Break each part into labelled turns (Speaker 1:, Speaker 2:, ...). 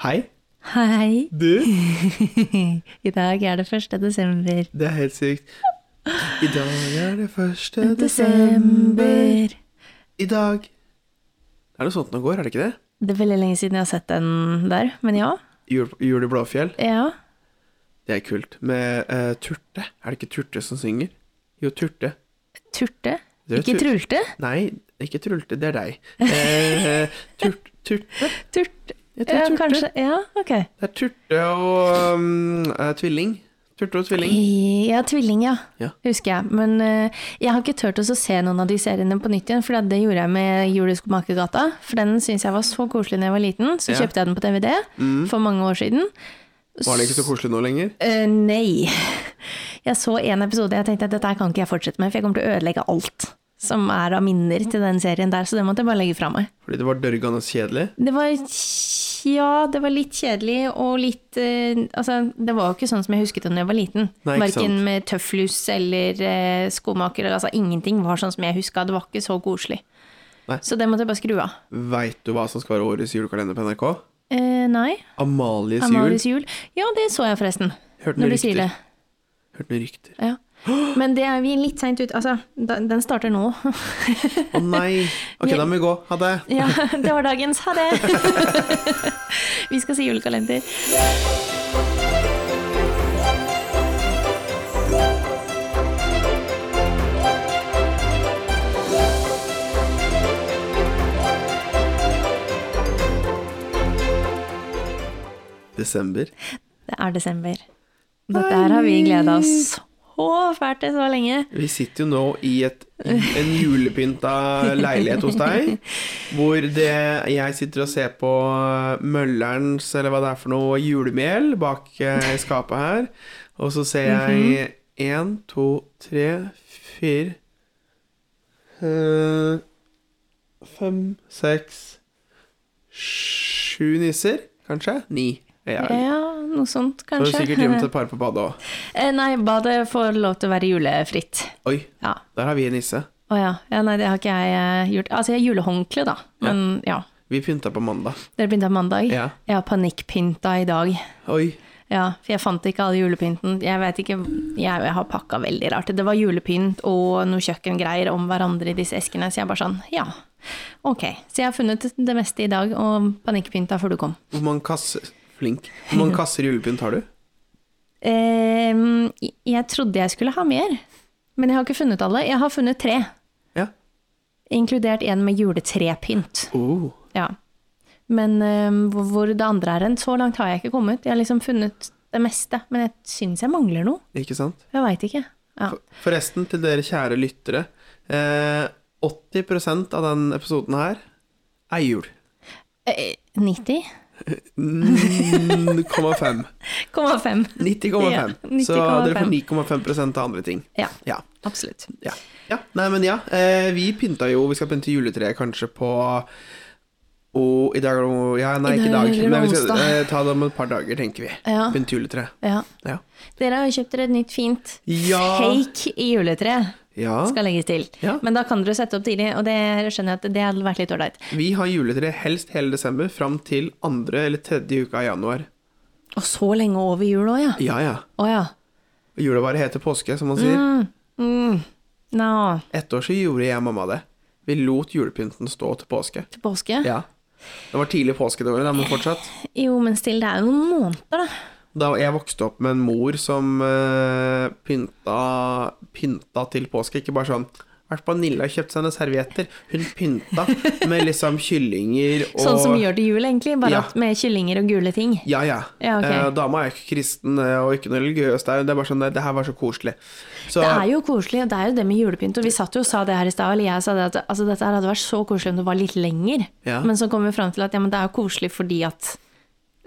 Speaker 1: Hei,
Speaker 2: Hei.
Speaker 1: du.
Speaker 2: I dag er det 1. desember.
Speaker 1: Det er helt sykt. I dag er det 1. desember.
Speaker 2: Desember.
Speaker 1: I dag. Er det sånt nå går, er det ikke det?
Speaker 2: Det er veldig lenge siden jeg har sett den der, men ja.
Speaker 1: Jul, jul i Blåfjell.
Speaker 2: Ja.
Speaker 1: Det er kult. Med eh, Turte. Er det ikke Turte som synger? Jo, Turte.
Speaker 2: Turte.
Speaker 1: Det er
Speaker 2: Ikke
Speaker 1: tur-
Speaker 2: trulte.
Speaker 1: Nei, ikke Trulte, det er deg. Eh, turt, turte.
Speaker 2: Turt.
Speaker 1: Jeg tror
Speaker 2: Ja,
Speaker 1: Turte.
Speaker 2: kanskje. Ja, ok.
Speaker 1: Det er Turte og um, eh, Tvilling. Turte og Tvilling.
Speaker 2: Ja, tvilling, ja.
Speaker 1: Ja.
Speaker 2: Husker jeg. Men eh, jeg har ikke turt å se noen av de seriene på nytt igjen, for det gjorde jeg med Jul i Skomakergata. For den syns jeg var så koselig da jeg var liten, så
Speaker 1: Ja. Mm.
Speaker 2: kjøpte jeg den på DVD for mange år siden.
Speaker 1: Var det ikke så koselig nå lenger?
Speaker 2: Eh, nei. Jeg så en episode og jeg tenkte at dette her kan ikke jeg fortsette med, for jeg kommer til å ødelegge alt som er av minner til den serien der, så det måtte jeg bare legge fra meg.
Speaker 1: Fordi det var dørgende kjedelig?
Speaker 2: Det var Ja, det var litt kjedelig og litt eh, Altså, det var jo ikke sånn som jeg husket det da jeg var liten.
Speaker 1: Nei, ikke
Speaker 2: Verken
Speaker 1: sant.
Speaker 2: med tøfflus eller eh, skomaker eller altså ingenting var sånn som jeg huska. Det var ikke så koselig.
Speaker 1: Nei.
Speaker 2: Så det måtte jeg bare skru av.
Speaker 1: Veit du hva som skal være årets julekalender på NRK?
Speaker 2: Eh, nei.
Speaker 1: Amalies,
Speaker 2: Amalies jul. Ja, det så jeg forresten.
Speaker 1: jul. Hørte noen
Speaker 2: Når du sier det.
Speaker 1: rykter. Hørte noen rykter.
Speaker 2: Ja. Men det er vi litt seint ute Altså, da- den starter nå.
Speaker 1: Å nei! Ok, da må vi gå. Ha det.
Speaker 2: Ja, det var dagens. Ha det! Vi skal si julekalender.
Speaker 1: Desember.
Speaker 2: Det er desember. Dette her har vi gleda oss så fælt til så lenge.
Speaker 1: Vi sitter jo nå i et, en julepynta leilighet hos deg, hvor det, jeg sitter og ser på Møllerens, eller hva det er for noe, julemel bak eh, i skapet her. Og så ser jeg én, to, tre, fire eh, Fem, seks Sju nisser, kanskje? Ni. Ja, ja.
Speaker 2: Ja, noe sånt,
Speaker 1: Så har du
Speaker 2: kanskje.
Speaker 1: sikkert gjemt et par på badet òg.
Speaker 2: Eh, Nei, badet får lov til å være julefritt.
Speaker 1: Oi,
Speaker 2: Ja.
Speaker 1: der har vi en nisse.
Speaker 2: Å ja. ja. Nei, det har ikke jeg eh, gjort. Altså, jeg har julehåndkle, da. Men ja.
Speaker 1: Vi pynta på mandag.
Speaker 2: Dere begynte på mandag.
Speaker 1: Ja.
Speaker 2: Jeg har panikkpynta i dag.
Speaker 1: Oi.
Speaker 2: Ja, for jeg fant ikke all julepynten. Jeg vet ikke, jeg, jeg har pakka veldig rart. Det var julepynt og noe kjøkkengreier om hverandre i disse eskene, så jeg bare sånn, ja, ok. Så jeg har funnet det meste i dag, og panikkpynta før du kom.
Speaker 1: Hvor mange kasser Flink. Hvor mange kasser julepynt har du?
Speaker 2: Ehm, jeg trodde jeg skulle ha mer, men jeg har ikke funnet alle. Jeg har funnet tre,
Speaker 1: Ja.
Speaker 2: inkludert en med juletrepynt.
Speaker 1: Oh.
Speaker 2: Ja. Men ehm, hvor, hvor det andre er hen, så langt har jeg ikke kommet. Jeg har liksom funnet det meste, men jeg syns jeg mangler noe.
Speaker 1: Ikke sant?
Speaker 2: Jeg veit ikke. Ja.
Speaker 1: For- Forresten, til dere kjære lyttere. Eh, 80 av den episoden her er jul.
Speaker 2: Eh, 90?
Speaker 1: 9,5.
Speaker 2: 90,5.
Speaker 1: 90,5.
Speaker 2: Ja,
Speaker 1: Så dere
Speaker 2: 90,5.
Speaker 1: får 9,5 av andre ting.
Speaker 2: Ja,
Speaker 1: Ja.
Speaker 2: absolutt.
Speaker 1: ja. ja. Nei, men ja. Eh, vi pynta jo Vi skal pynte juletreet kanskje på og i dag er det noe- Ja, nei,
Speaker 2: I
Speaker 1: ikke i
Speaker 2: dag
Speaker 1: dag.
Speaker 2: er det
Speaker 1: Men vi skal
Speaker 2: onsdag.
Speaker 1: eh, ta det om et par dager, tenker vi.
Speaker 2: Ja.
Speaker 1: Pynte juletreet.
Speaker 2: Ja.
Speaker 1: Ja.
Speaker 2: Dere har jo kjøpt dere et nytt fint
Speaker 1: Ja.
Speaker 2: fake juletre,
Speaker 1: ja.
Speaker 2: skal legges til.
Speaker 1: Ja.
Speaker 2: Men da kan dere sette opp tidlig, og det skjønner jeg at det hadde vært litt ålreit.
Speaker 1: Vi har juletre helst hele desember fram til andre eller tredje uka i januar.
Speaker 2: Og så lenge over jul òg, ja.
Speaker 1: Ja, ja.
Speaker 2: Å ja.
Speaker 1: Og Julevare heter påske, som man sier.
Speaker 2: Mm. Nå,
Speaker 1: Ett år så gjorde jeg og mamma det. Vi lot julepynten stå til påske.
Speaker 2: til påske?
Speaker 1: Ja. Det var tidlig påskedårlig, da, men fortsatt.
Speaker 2: Jo, men still, det er jo noen måneder, da.
Speaker 1: Da jeg vokste opp med en mor som eh, pynta, pynta til påske, ikke bare sånn Vært på Nilla og kjøpt seg noen servietter. Hun pynta med liksom kyllinger og
Speaker 2: Sånn som vi gjør til jul, egentlig, bare
Speaker 1: Ja.
Speaker 2: at med kyllinger og gule ting.
Speaker 1: Ja, ja.
Speaker 2: Ja, ok.
Speaker 1: Eh, dama er jo ikke kristen eh, og ikke noe religiøs. Det er det er bare sånn, det, det her var så koselig. Så,
Speaker 2: Det er jo koselig, og det er jo det med julepynt. Og vi satt jo og sa det her i stad, eller jeg sa det at altså, dette her hadde vært så koselig om det var litt lenger.
Speaker 1: Ja.
Speaker 2: Men så kom vi fram til at ja, men det er jo koselig fordi at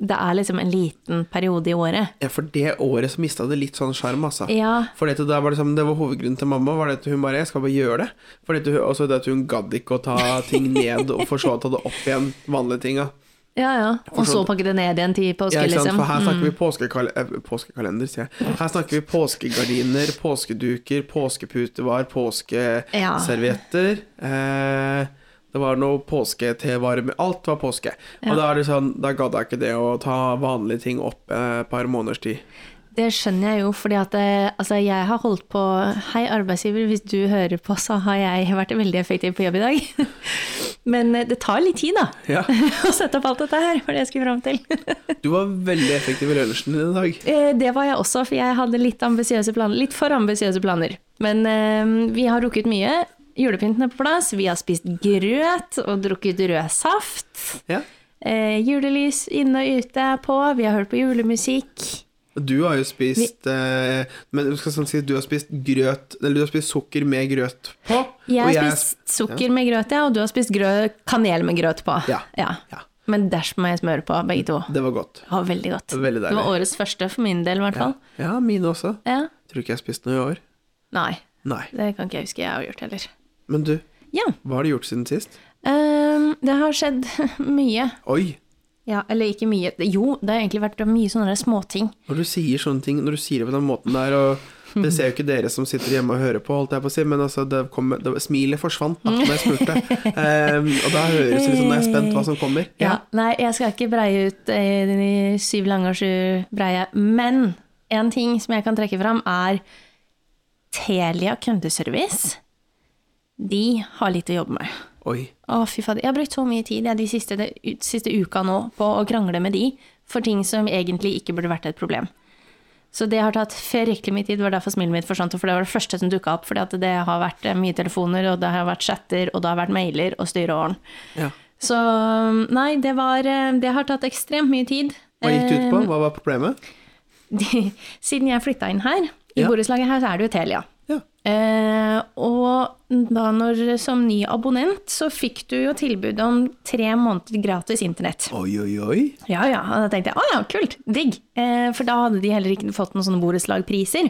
Speaker 2: det er liksom en liten periode i året.
Speaker 1: ja, for det året så mista det litt sånn sjarm, altså.
Speaker 2: Ja.
Speaker 1: For det, da var det, sånn, det var hovedgrunnen til mamma, var det at hun bare Jeg skal bare gjøre det. For det, og så det at hun gadd ikke å ta ting ned, og for så å ta det opp igjen, vanlige tinga.
Speaker 2: Ja, ja. Og så pakke det ned igjen til påske,
Speaker 1: sånn- Ja, ikke sant?
Speaker 2: liksom.
Speaker 1: For her snakker vi påskekal eh, påskekalender, sier jeg. Her snakker vi påskegardiner, påskeduker, påskeputer var, påskeservietter. Eh, Det var noe påske-tevarer med Alt var påske.
Speaker 2: Ja.
Speaker 1: Og da er det sånn, da gadd jeg ikke det å ta vanlige ting opp eh, et par måneders tid.
Speaker 2: Det skjønner jeg jo, fordi at eh, altså, jeg har holdt på Hei, arbeidsgiver, hvis du hører på, så har jeg vært veldig effektiv på jobb i dag. Men eh, det tar litt tid, da,
Speaker 1: Ja.
Speaker 2: å sette opp alt dette her, var det jeg skulle fram til.
Speaker 1: Du var veldig effektiv i lunsjen din i dag.
Speaker 2: Eh, Det var jeg også, for jeg hadde litt ambisiøse planer. Litt for ambisiøse planer. Men eh, vi har rukket mye. Julepynten er på plass, vi har spist grøt og drukket rød saft.
Speaker 1: Ja.
Speaker 2: Eh, julelys inne og ute er på, vi har hørt på julemusikk.
Speaker 1: Du har jo spist eh, Men du skal sånn si du har spist grøt Eller du har spist sukker med grøt på.
Speaker 2: Jeg har
Speaker 1: og
Speaker 2: spist sukker med grøt, ja, og du har spist grø- kanel med grøt på.
Speaker 1: Ja. Ja.
Speaker 2: Men dash med smør på, begge to.
Speaker 1: Det var godt.
Speaker 2: Det var veldig godt.
Speaker 1: Veldig
Speaker 2: Det var
Speaker 1: deilig.
Speaker 2: årets første, for min del i hvert fall.
Speaker 1: Ja, mine også.
Speaker 2: Ja.
Speaker 1: Tror ikke jeg har spist noe i år.
Speaker 2: Nei,
Speaker 1: Nei.
Speaker 2: det kan ikke jeg huske jeg har gjort heller.
Speaker 1: Men du,
Speaker 2: Ja,
Speaker 1: hva har du gjort siden sist?
Speaker 2: ehm, det har skjedd mye.
Speaker 1: Oi,
Speaker 2: Ja, eller ikke mye. Det- Jo, det har egentlig vært mye sånne der småting.
Speaker 1: når du sier sånne ting, når du sier det på den måten der, og det ser jo ikke dere som sitter hjemme og hører på, holdt jeg på å si, men altså, det kom, det, smilet forsvant da når jeg spurte. Ehm, og da høres det ut som jeg er spent hva som kommer.
Speaker 2: Ja. Nei, jeg skal ikke breie ut eh, de syv lange og sju breie, men en ting som jeg kan trekke fram, er Telia kundeservice. De har litt å jobbe med.
Speaker 1: Oi.
Speaker 2: Å, fy fader. Jeg har brukt så mye tid jeg, de siste, de, ut- siste uka nå på å krangle med de for ting som egentlig ikke burde vært et problem. Så det har tatt fryktelig mye tid. Det var derfor smilet mitt forsvant. For det var det første som dukka opp. For det har vært eh, mye telefoner, og det har vært chatter, og det har vært mailer og styre og ordn.
Speaker 1: Ja.
Speaker 2: Så mm, nei, det var eh, Det har tatt ekstremt mye tid. Eh,
Speaker 1: Hva gikk det ut på? Hva var problemet?
Speaker 2: de, siden jeg flytta inn her, i
Speaker 1: Ja.
Speaker 2: borettslaget her, så er det jo Telia.
Speaker 1: Ja.
Speaker 2: Eh, og da når, som ny abonnent, så fikk du jo tilbud om tre måneder gratis internett.
Speaker 1: Oi, oi, oi.
Speaker 2: Ja, ja. Og da tenkte jeg å ja, kult, digg. Eh, for da hadde de heller ikke fått noen sånne borettslagpriser.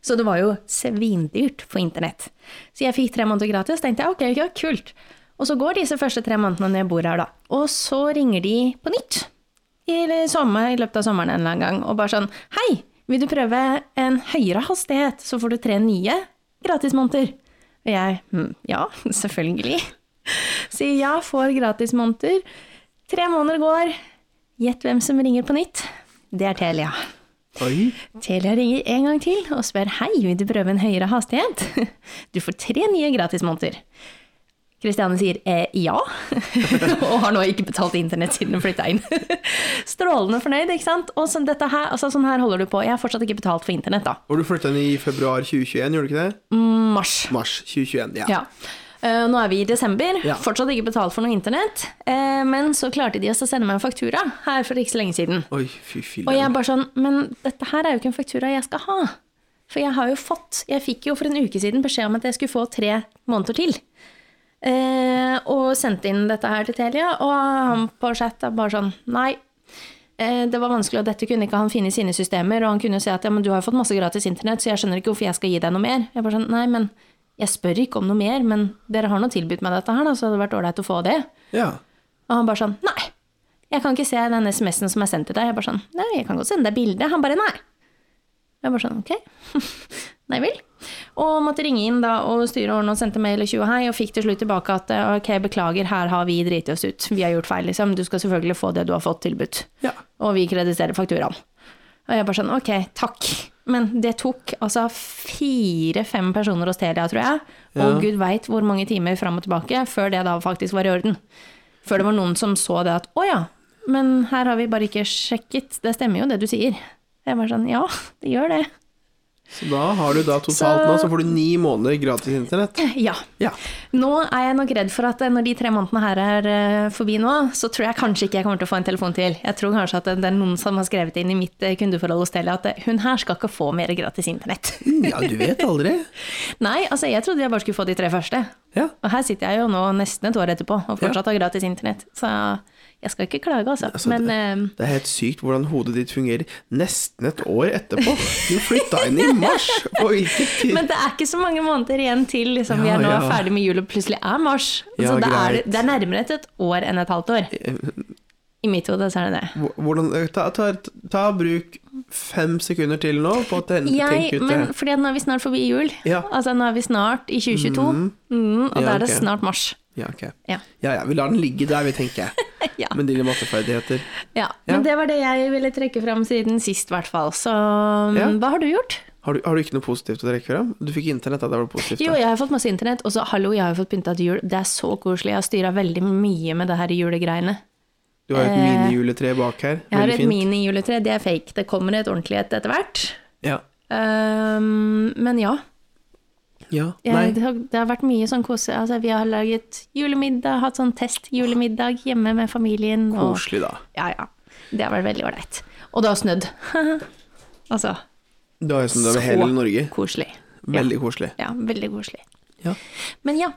Speaker 2: Så det var jo svindyrt på internett. Så jeg fikk tre måneder gratis, tenkte jeg ok, ja, kult. Og så går disse første tre månedene når jeg bor her, da. Og så ringer de på nytt. I, sommer, I løpet av sommeren en eller annen gang. Og bare sånn Hei, vil du prøve en høyere hastighet, så får du tre nye gratismåneder? Og jeg hm, ja, selvfølgelig. Sier ja, får gratismåneder. Tre måneder går. Gjett hvem som ringer på nytt? Det er Telia.
Speaker 1: Oi.
Speaker 2: Telia ringer en gang til og spør hei, vil du prøve en høyere hastighet? Du får tre nye gratismåneder. Kristiane sier eh, ja, og har nå ikke betalt internett siden hun flytta inn. Strålende fornøyd, ikke sant? Og sånn, dette her, altså, sånn her holder du på. Jeg har fortsatt ikke betalt for internett, da.
Speaker 1: Og du flyttet inn i februar 2021, gjorde du ikke det?
Speaker 2: Mars.
Speaker 1: Mars 2021, ja.
Speaker 2: Ja. Eh, nå er vi i desember,
Speaker 1: Ja.
Speaker 2: fortsatt ikke betalt for noe internett. eh, men så klarte de oss å sende meg en faktura her for ikke så lenge siden.
Speaker 1: Oi, fy
Speaker 2: Og jeg
Speaker 1: fillen.
Speaker 2: er bare sånn, men dette her er jo ikke en faktura jeg skal ha. For jeg har jo fått, jeg fikk jo for en uke siden beskjed om at jeg skulle få tre måneder til. Eh, og sendte inn dette her til Telia, og han på chat er bare sånn, nei, eh, det var vanskelig, og dette kunne ikke han finne i sine systemer, og han kunne jo si at ja, men du har jo fått masse gratis internett, så jeg skjønner ikke hvorfor jeg skal gi deg noe mer. Jeg bare sånn, nei, men jeg spør ikke om noe mer, men dere har nå tilbudt meg dette her, da, så det hadde vært ålreit å få det.
Speaker 1: Ja.
Speaker 2: Og han bare sånn Nei, jeg kan ikke se den SMS-en som er sendt til deg. Jeg bare sånn Nei, jeg kan godt sende deg bilde. Han bare nei. Jeg bare sånn ok. nei vel. Og måtte ringe inn da og styre og ordne og sendte mail og tjo og hei, og fikk til slutt tilbake at eh, ok, beklager, her har vi driti oss ut. Vi har gjort feil, liksom. Du skal selvfølgelig få det du har fått tilbudt.
Speaker 1: Ja.
Speaker 2: Og vi krediterer fakturaen. Og jeg bare sånn ok, takk. Men det tok altså fire-fem personer hos Telia, tror jeg, og
Speaker 1: Ja.
Speaker 2: gud veit hvor mange timer fram og tilbake før det da faktisk var i orden. Før det var noen som så det at å ja, men her har vi bare ikke sjekket. Det stemmer jo det du sier. Jeg var sånn ja, det gjør det.
Speaker 1: Så da har du da totalt
Speaker 2: Så-
Speaker 1: nå, så får du ni måneder gratis internett.
Speaker 2: Ja.
Speaker 1: Ja.
Speaker 2: Nå er jeg nok redd for at eh, når de tre månedene her er eh, forbi nå, så tror jeg kanskje ikke jeg kommer til å få en telefon til. Jeg tror kanskje at det er noen som har skrevet inn i mitt eh, kundeforhold hos Telia at eh, hun her skal ikke få mer gratis internett.
Speaker 1: Mm, Ja, du vet aldri.
Speaker 2: Nei, altså jeg trodde jeg bare skulle få de tre første.
Speaker 1: Ja.
Speaker 2: Og her sitter jeg jo nå nesten et år etterpå og fortsatt har gratis internett. Så jeg skal ikke klage, altså.
Speaker 1: Altså,
Speaker 2: Men eh,
Speaker 1: Det er helt sykt hvordan hodet ditt fungerer nesten et år etterpå. Du flytta inn i mars, og hvilken tid
Speaker 2: Men det er ikke så mange måneder igjen til liksom, vi
Speaker 1: Ja,
Speaker 2: er nå
Speaker 1: ja.
Speaker 2: ferdig med jul, og plutselig er mars.
Speaker 1: Ja,
Speaker 2: så det er,
Speaker 1: greit.
Speaker 2: det er nærmere et, et år enn et halvt år. I mitt hode så er det det.
Speaker 1: hvordan, ta, ta, ta Bruk fem sekunder til nå på å ten,
Speaker 2: Jeg,
Speaker 1: tenke ut det.
Speaker 2: men fordi at nå er vi snart forbi jul.
Speaker 1: Ja.
Speaker 2: Altså nå er vi snart i 2022, mm, og da er det
Speaker 1: ok.
Speaker 2: snart mars.
Speaker 1: Ja, ok.
Speaker 2: Ja.
Speaker 1: Ja, ja, vi lar den ligge der, vi, tenker jeg.
Speaker 2: Ja.
Speaker 1: Med dine matteferdigheter.
Speaker 2: ja. Men
Speaker 1: Ja.
Speaker 2: det var det jeg ville trekke fram siden sist, i hvert fall. Så um,
Speaker 1: Ja.
Speaker 2: hva har du gjort?
Speaker 1: Har du, har du ikke noe positivt å trekke fram? Du fikk internett, da. Det var det positivt.
Speaker 2: Jo,
Speaker 1: da.
Speaker 2: jeg har fått masse internett, og så hallo, jeg har jo fått pynta til jul. Det er så koselig. Jeg har styra veldig mye med det her julegreiene.
Speaker 1: Du har et
Speaker 2: eh,
Speaker 1: minijuletre bak her.
Speaker 2: Jeg har
Speaker 1: Veldig
Speaker 2: et
Speaker 1: fint.
Speaker 2: mini-juletre, det er fake. Det kommer et ordentlig et etter hvert.
Speaker 1: Ja.
Speaker 2: Ehm, men ja.
Speaker 1: ja.
Speaker 2: Jeg,
Speaker 1: Nei.
Speaker 2: det, har, det har vært mye sånn kose... Altså, vi har laget julemiddag, hatt sånn test-julemiddag hjemme med familien. Og,
Speaker 1: Koselig, da.
Speaker 2: ja, ja. Det har vært veldig ålreit. Og det har snødd. altså,
Speaker 1: Du har jo sånn over
Speaker 2: Så
Speaker 1: hele Norge.
Speaker 2: koselig.
Speaker 1: Veldig koselig.
Speaker 2: Ja, veldig koselig.
Speaker 1: Ja.
Speaker 2: Men ja.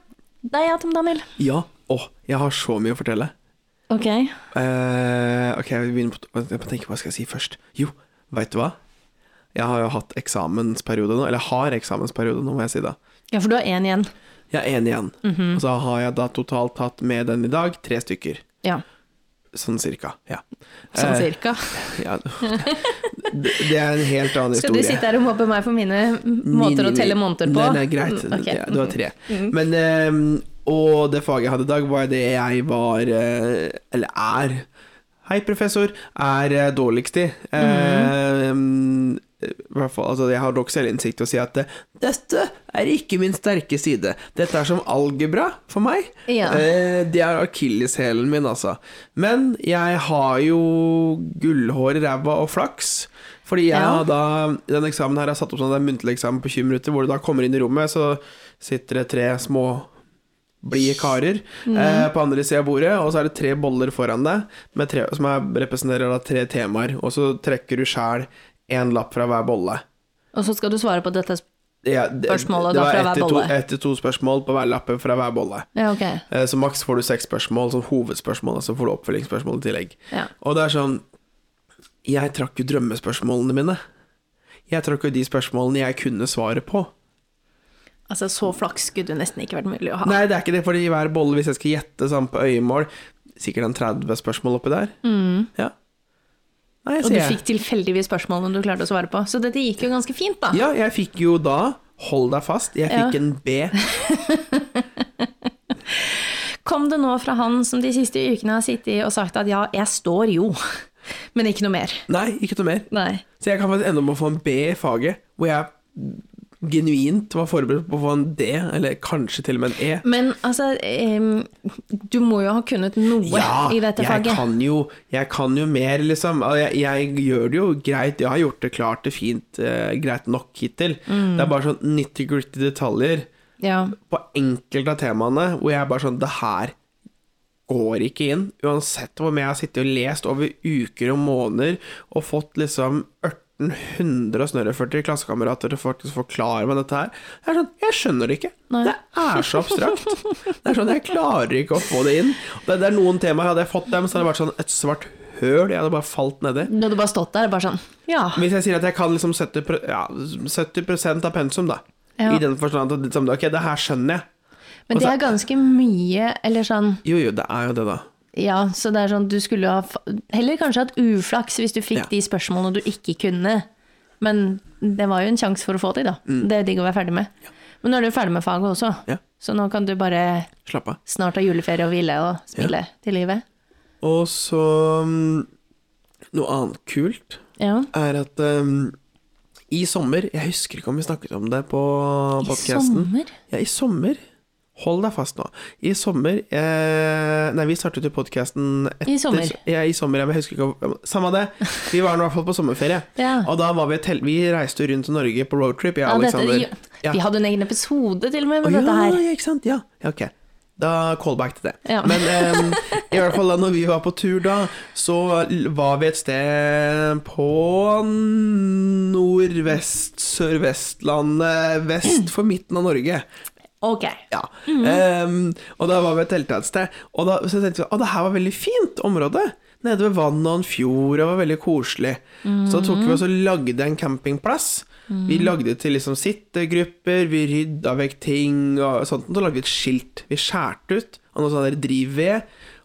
Speaker 2: Deg, ja, Tom Daniel.
Speaker 1: ja. Å, jeg har så mye å fortelle.
Speaker 2: Ok.
Speaker 1: Eh, ok, jeg begynner på Jeg må tenke på hva skal jeg si først. Jo, veit du hva? Jeg har jo hatt eksamensperiode nå, eller har eksamensperiode nå, må jeg si da.
Speaker 2: Ja, for du har én igjen.
Speaker 1: Jeg er enig igjen.
Speaker 2: Mhm.
Speaker 1: Og så har jeg da totalt tatt med den i dag, tre stykker.
Speaker 2: Ja,
Speaker 1: Sånn cirka. Ja.
Speaker 2: sånn
Speaker 1: Eh,
Speaker 2: cirka.
Speaker 1: ja. Det, det er en helt annen
Speaker 2: Skal du
Speaker 1: historie.
Speaker 2: sitte her og mobbe meg for mine måter å
Speaker 1: Mini-
Speaker 2: telle måneder på?
Speaker 1: Nei, nei, greit.
Speaker 2: Mm, ok.
Speaker 1: Ja, Du har tre. Men ehm, Og det faget jeg hadde i dag, var det jeg var eh, Eller er Hei, professor. Er eh, dårligst i.
Speaker 2: Mm.
Speaker 1: Ehm, i hvert fall, altså, jeg har nok selvinnsikt til å si at eh, dette er ikke min sterke side. Dette er som algebra for meg.
Speaker 2: Ja.
Speaker 1: Eh, det er akilleshælen min, altså. Men jeg har jo gullhår i ræva og flaks. Fordi jeg
Speaker 2: Ja.
Speaker 1: har da, den eksamen her er satt opp som en muntlig eksamen på 20 minutter, hvor du da kommer inn i rommet, så sitter det tre små blide karer
Speaker 2: Mm.
Speaker 1: eh, på andre sida av bordet, og så er det tre boller foran deg med tre, som er, representerer da tre temaer, og så trekker du sjæl én lapp fra hver bolle.
Speaker 2: Og så skal du svare på dette sp-
Speaker 1: Ja, det,
Speaker 2: Spørsmålet
Speaker 1: det
Speaker 2: da
Speaker 1: var
Speaker 2: fra hver
Speaker 1: ett til to-
Speaker 2: bolle.
Speaker 1: Ett til to spørsmål på hver lappe fra hver bolle.
Speaker 2: Ja, ok.
Speaker 1: Eh, Så maks får du seks spørsmål som hovedspørsmål, og så får du oppfølgingsspørsmål i tillegg.
Speaker 2: Ja.
Speaker 1: Og det er sånn Jeg trakk jo drømmespørsmålene mine. Jeg trakk jo de spørsmålene jeg kunne svaret på.
Speaker 2: Altså, så flaks skulle det nesten ikke vært mulig å ha.
Speaker 1: Nei, det er ikke det, fordi hver bolle, hvis jeg skal gjette sånn på øyemål Sikkert en 30 spørsmål oppi der. Ja. Nei,
Speaker 2: Mm. Og
Speaker 1: sier
Speaker 2: du
Speaker 1: jeg.
Speaker 2: fikk tilfeldigvis spørsmålene du klarte å svare på, så dette gikk jo ganske fint, da.
Speaker 1: Ja, jeg fikk jo da Hold deg fast, jeg
Speaker 2: Ja.
Speaker 1: fikk en B.
Speaker 2: Kom det nå fra han som de siste ukene har sittet og sagt at ja, jeg står jo, men ikke noe mer.
Speaker 1: Nei, ikke noe mer.
Speaker 2: Nei.
Speaker 1: Så jeg kan faktisk ende opp med å få en B i faget, hvor jeg genuint var forberedt på å få en D, eller kanskje til og med en E.
Speaker 2: Men altså, em, du må jo ha kunnet noe
Speaker 1: Ja,
Speaker 2: i dette
Speaker 1: jeg
Speaker 2: faget.
Speaker 1: kan, jo, jeg kan jo mer, liksom. Og Jeg, jeg gjør det jo greit. Jeg har gjort det klart og fint, eh, greit nok hittil.
Speaker 2: Mm.
Speaker 1: Det er bare sånn nitty-gritty detaljer
Speaker 2: Ja.
Speaker 1: på enkelte av temaene hvor jeg er bare sånn Det her går ikke inn. Uansett hvor mye jeg har sittet og lest over uker og måneder og fått liksom 1840 klassekamerater til å faktisk forklare meg dette her. Det er sånn, Jeg skjønner det ikke.
Speaker 2: Nei.
Speaker 1: Det er så abstrakt. Det er sånn, Jeg klarer ikke å få det inn. Det, det er noen temaer hadde jeg fått dem, så hadde det vært sånn et svart høl jeg hadde bare falt nedi.
Speaker 2: Du hadde bare stått der og bare sånn Ja.
Speaker 1: Hvis jeg sier at jeg kan liksom 70, pro- ja, 70 av pensum, da.
Speaker 2: Ja.
Speaker 1: I den altså- forstand at liksom, ok, det her skjønner jeg.
Speaker 2: Men det er ganske mye, eller sånn
Speaker 1: Jo, jo, det er jo det, da.
Speaker 2: Ja, så det er sånn du skulle ha fa- Heller kanskje hatt uflaks hvis du fikk
Speaker 1: Ja.
Speaker 2: de spørsmålene du ikke kunne. Men det var jo en sjanse for å få de, da. Det er digg å være ferdig med. Men nå er du jo ferdig med faget også,
Speaker 1: Mm. Ja.
Speaker 2: så nå kan du bare
Speaker 1: Slapp av.
Speaker 2: snart ha juleferie og hvile og spille til livet.
Speaker 1: Og så mm, Noe annet kult
Speaker 2: Ja.
Speaker 1: er at mm, i sommer Jeg husker ikke om vi snakket om det på
Speaker 2: I
Speaker 1: podkasten.
Speaker 2: sommer.
Speaker 1: Ja, i sommer. Hold deg fast nå. I sommer eh, Nei, vi startet jo podkasten etter
Speaker 2: I sommer.
Speaker 1: Ja, i sommer, ja, men jeg husker ikke om Samme det. Vi var nå i hvert fall på sommerferie.
Speaker 2: Ja.
Speaker 1: Og da var vi et hel- Vi reiste jo rundt i Norge på roadtrip, jeg
Speaker 2: Ja,
Speaker 1: og
Speaker 2: dette,
Speaker 1: Aleksander.
Speaker 2: jo, Vi hadde en egen episode til og med
Speaker 1: Å,
Speaker 2: med dette
Speaker 1: ja,
Speaker 2: her.
Speaker 1: Ja, ikke sant? Ja, ja ok. Da callback til det.
Speaker 2: Ja.
Speaker 1: Men em, i hvert fall da når vi var på tur da, så l- var vi et sted på nordvest, sørvestlandet, vest for midten av Norge.
Speaker 2: Ok.
Speaker 1: Ja.
Speaker 2: Mhm.
Speaker 1: Em, og da var vi og telta et sted, og da, så tenkte vi at det her var veldig fint område. Nede ved vann og en fjord, og det var veldig koselig. Så tok
Speaker 2: Mhm.
Speaker 1: vi oss og lagde en campingplass. Vi lagde til liksom sittegrupper, vi rydda vekk ting og sånt. Og så lagde vi et skilt. Vi skjærte ut av noe sånn der drivved,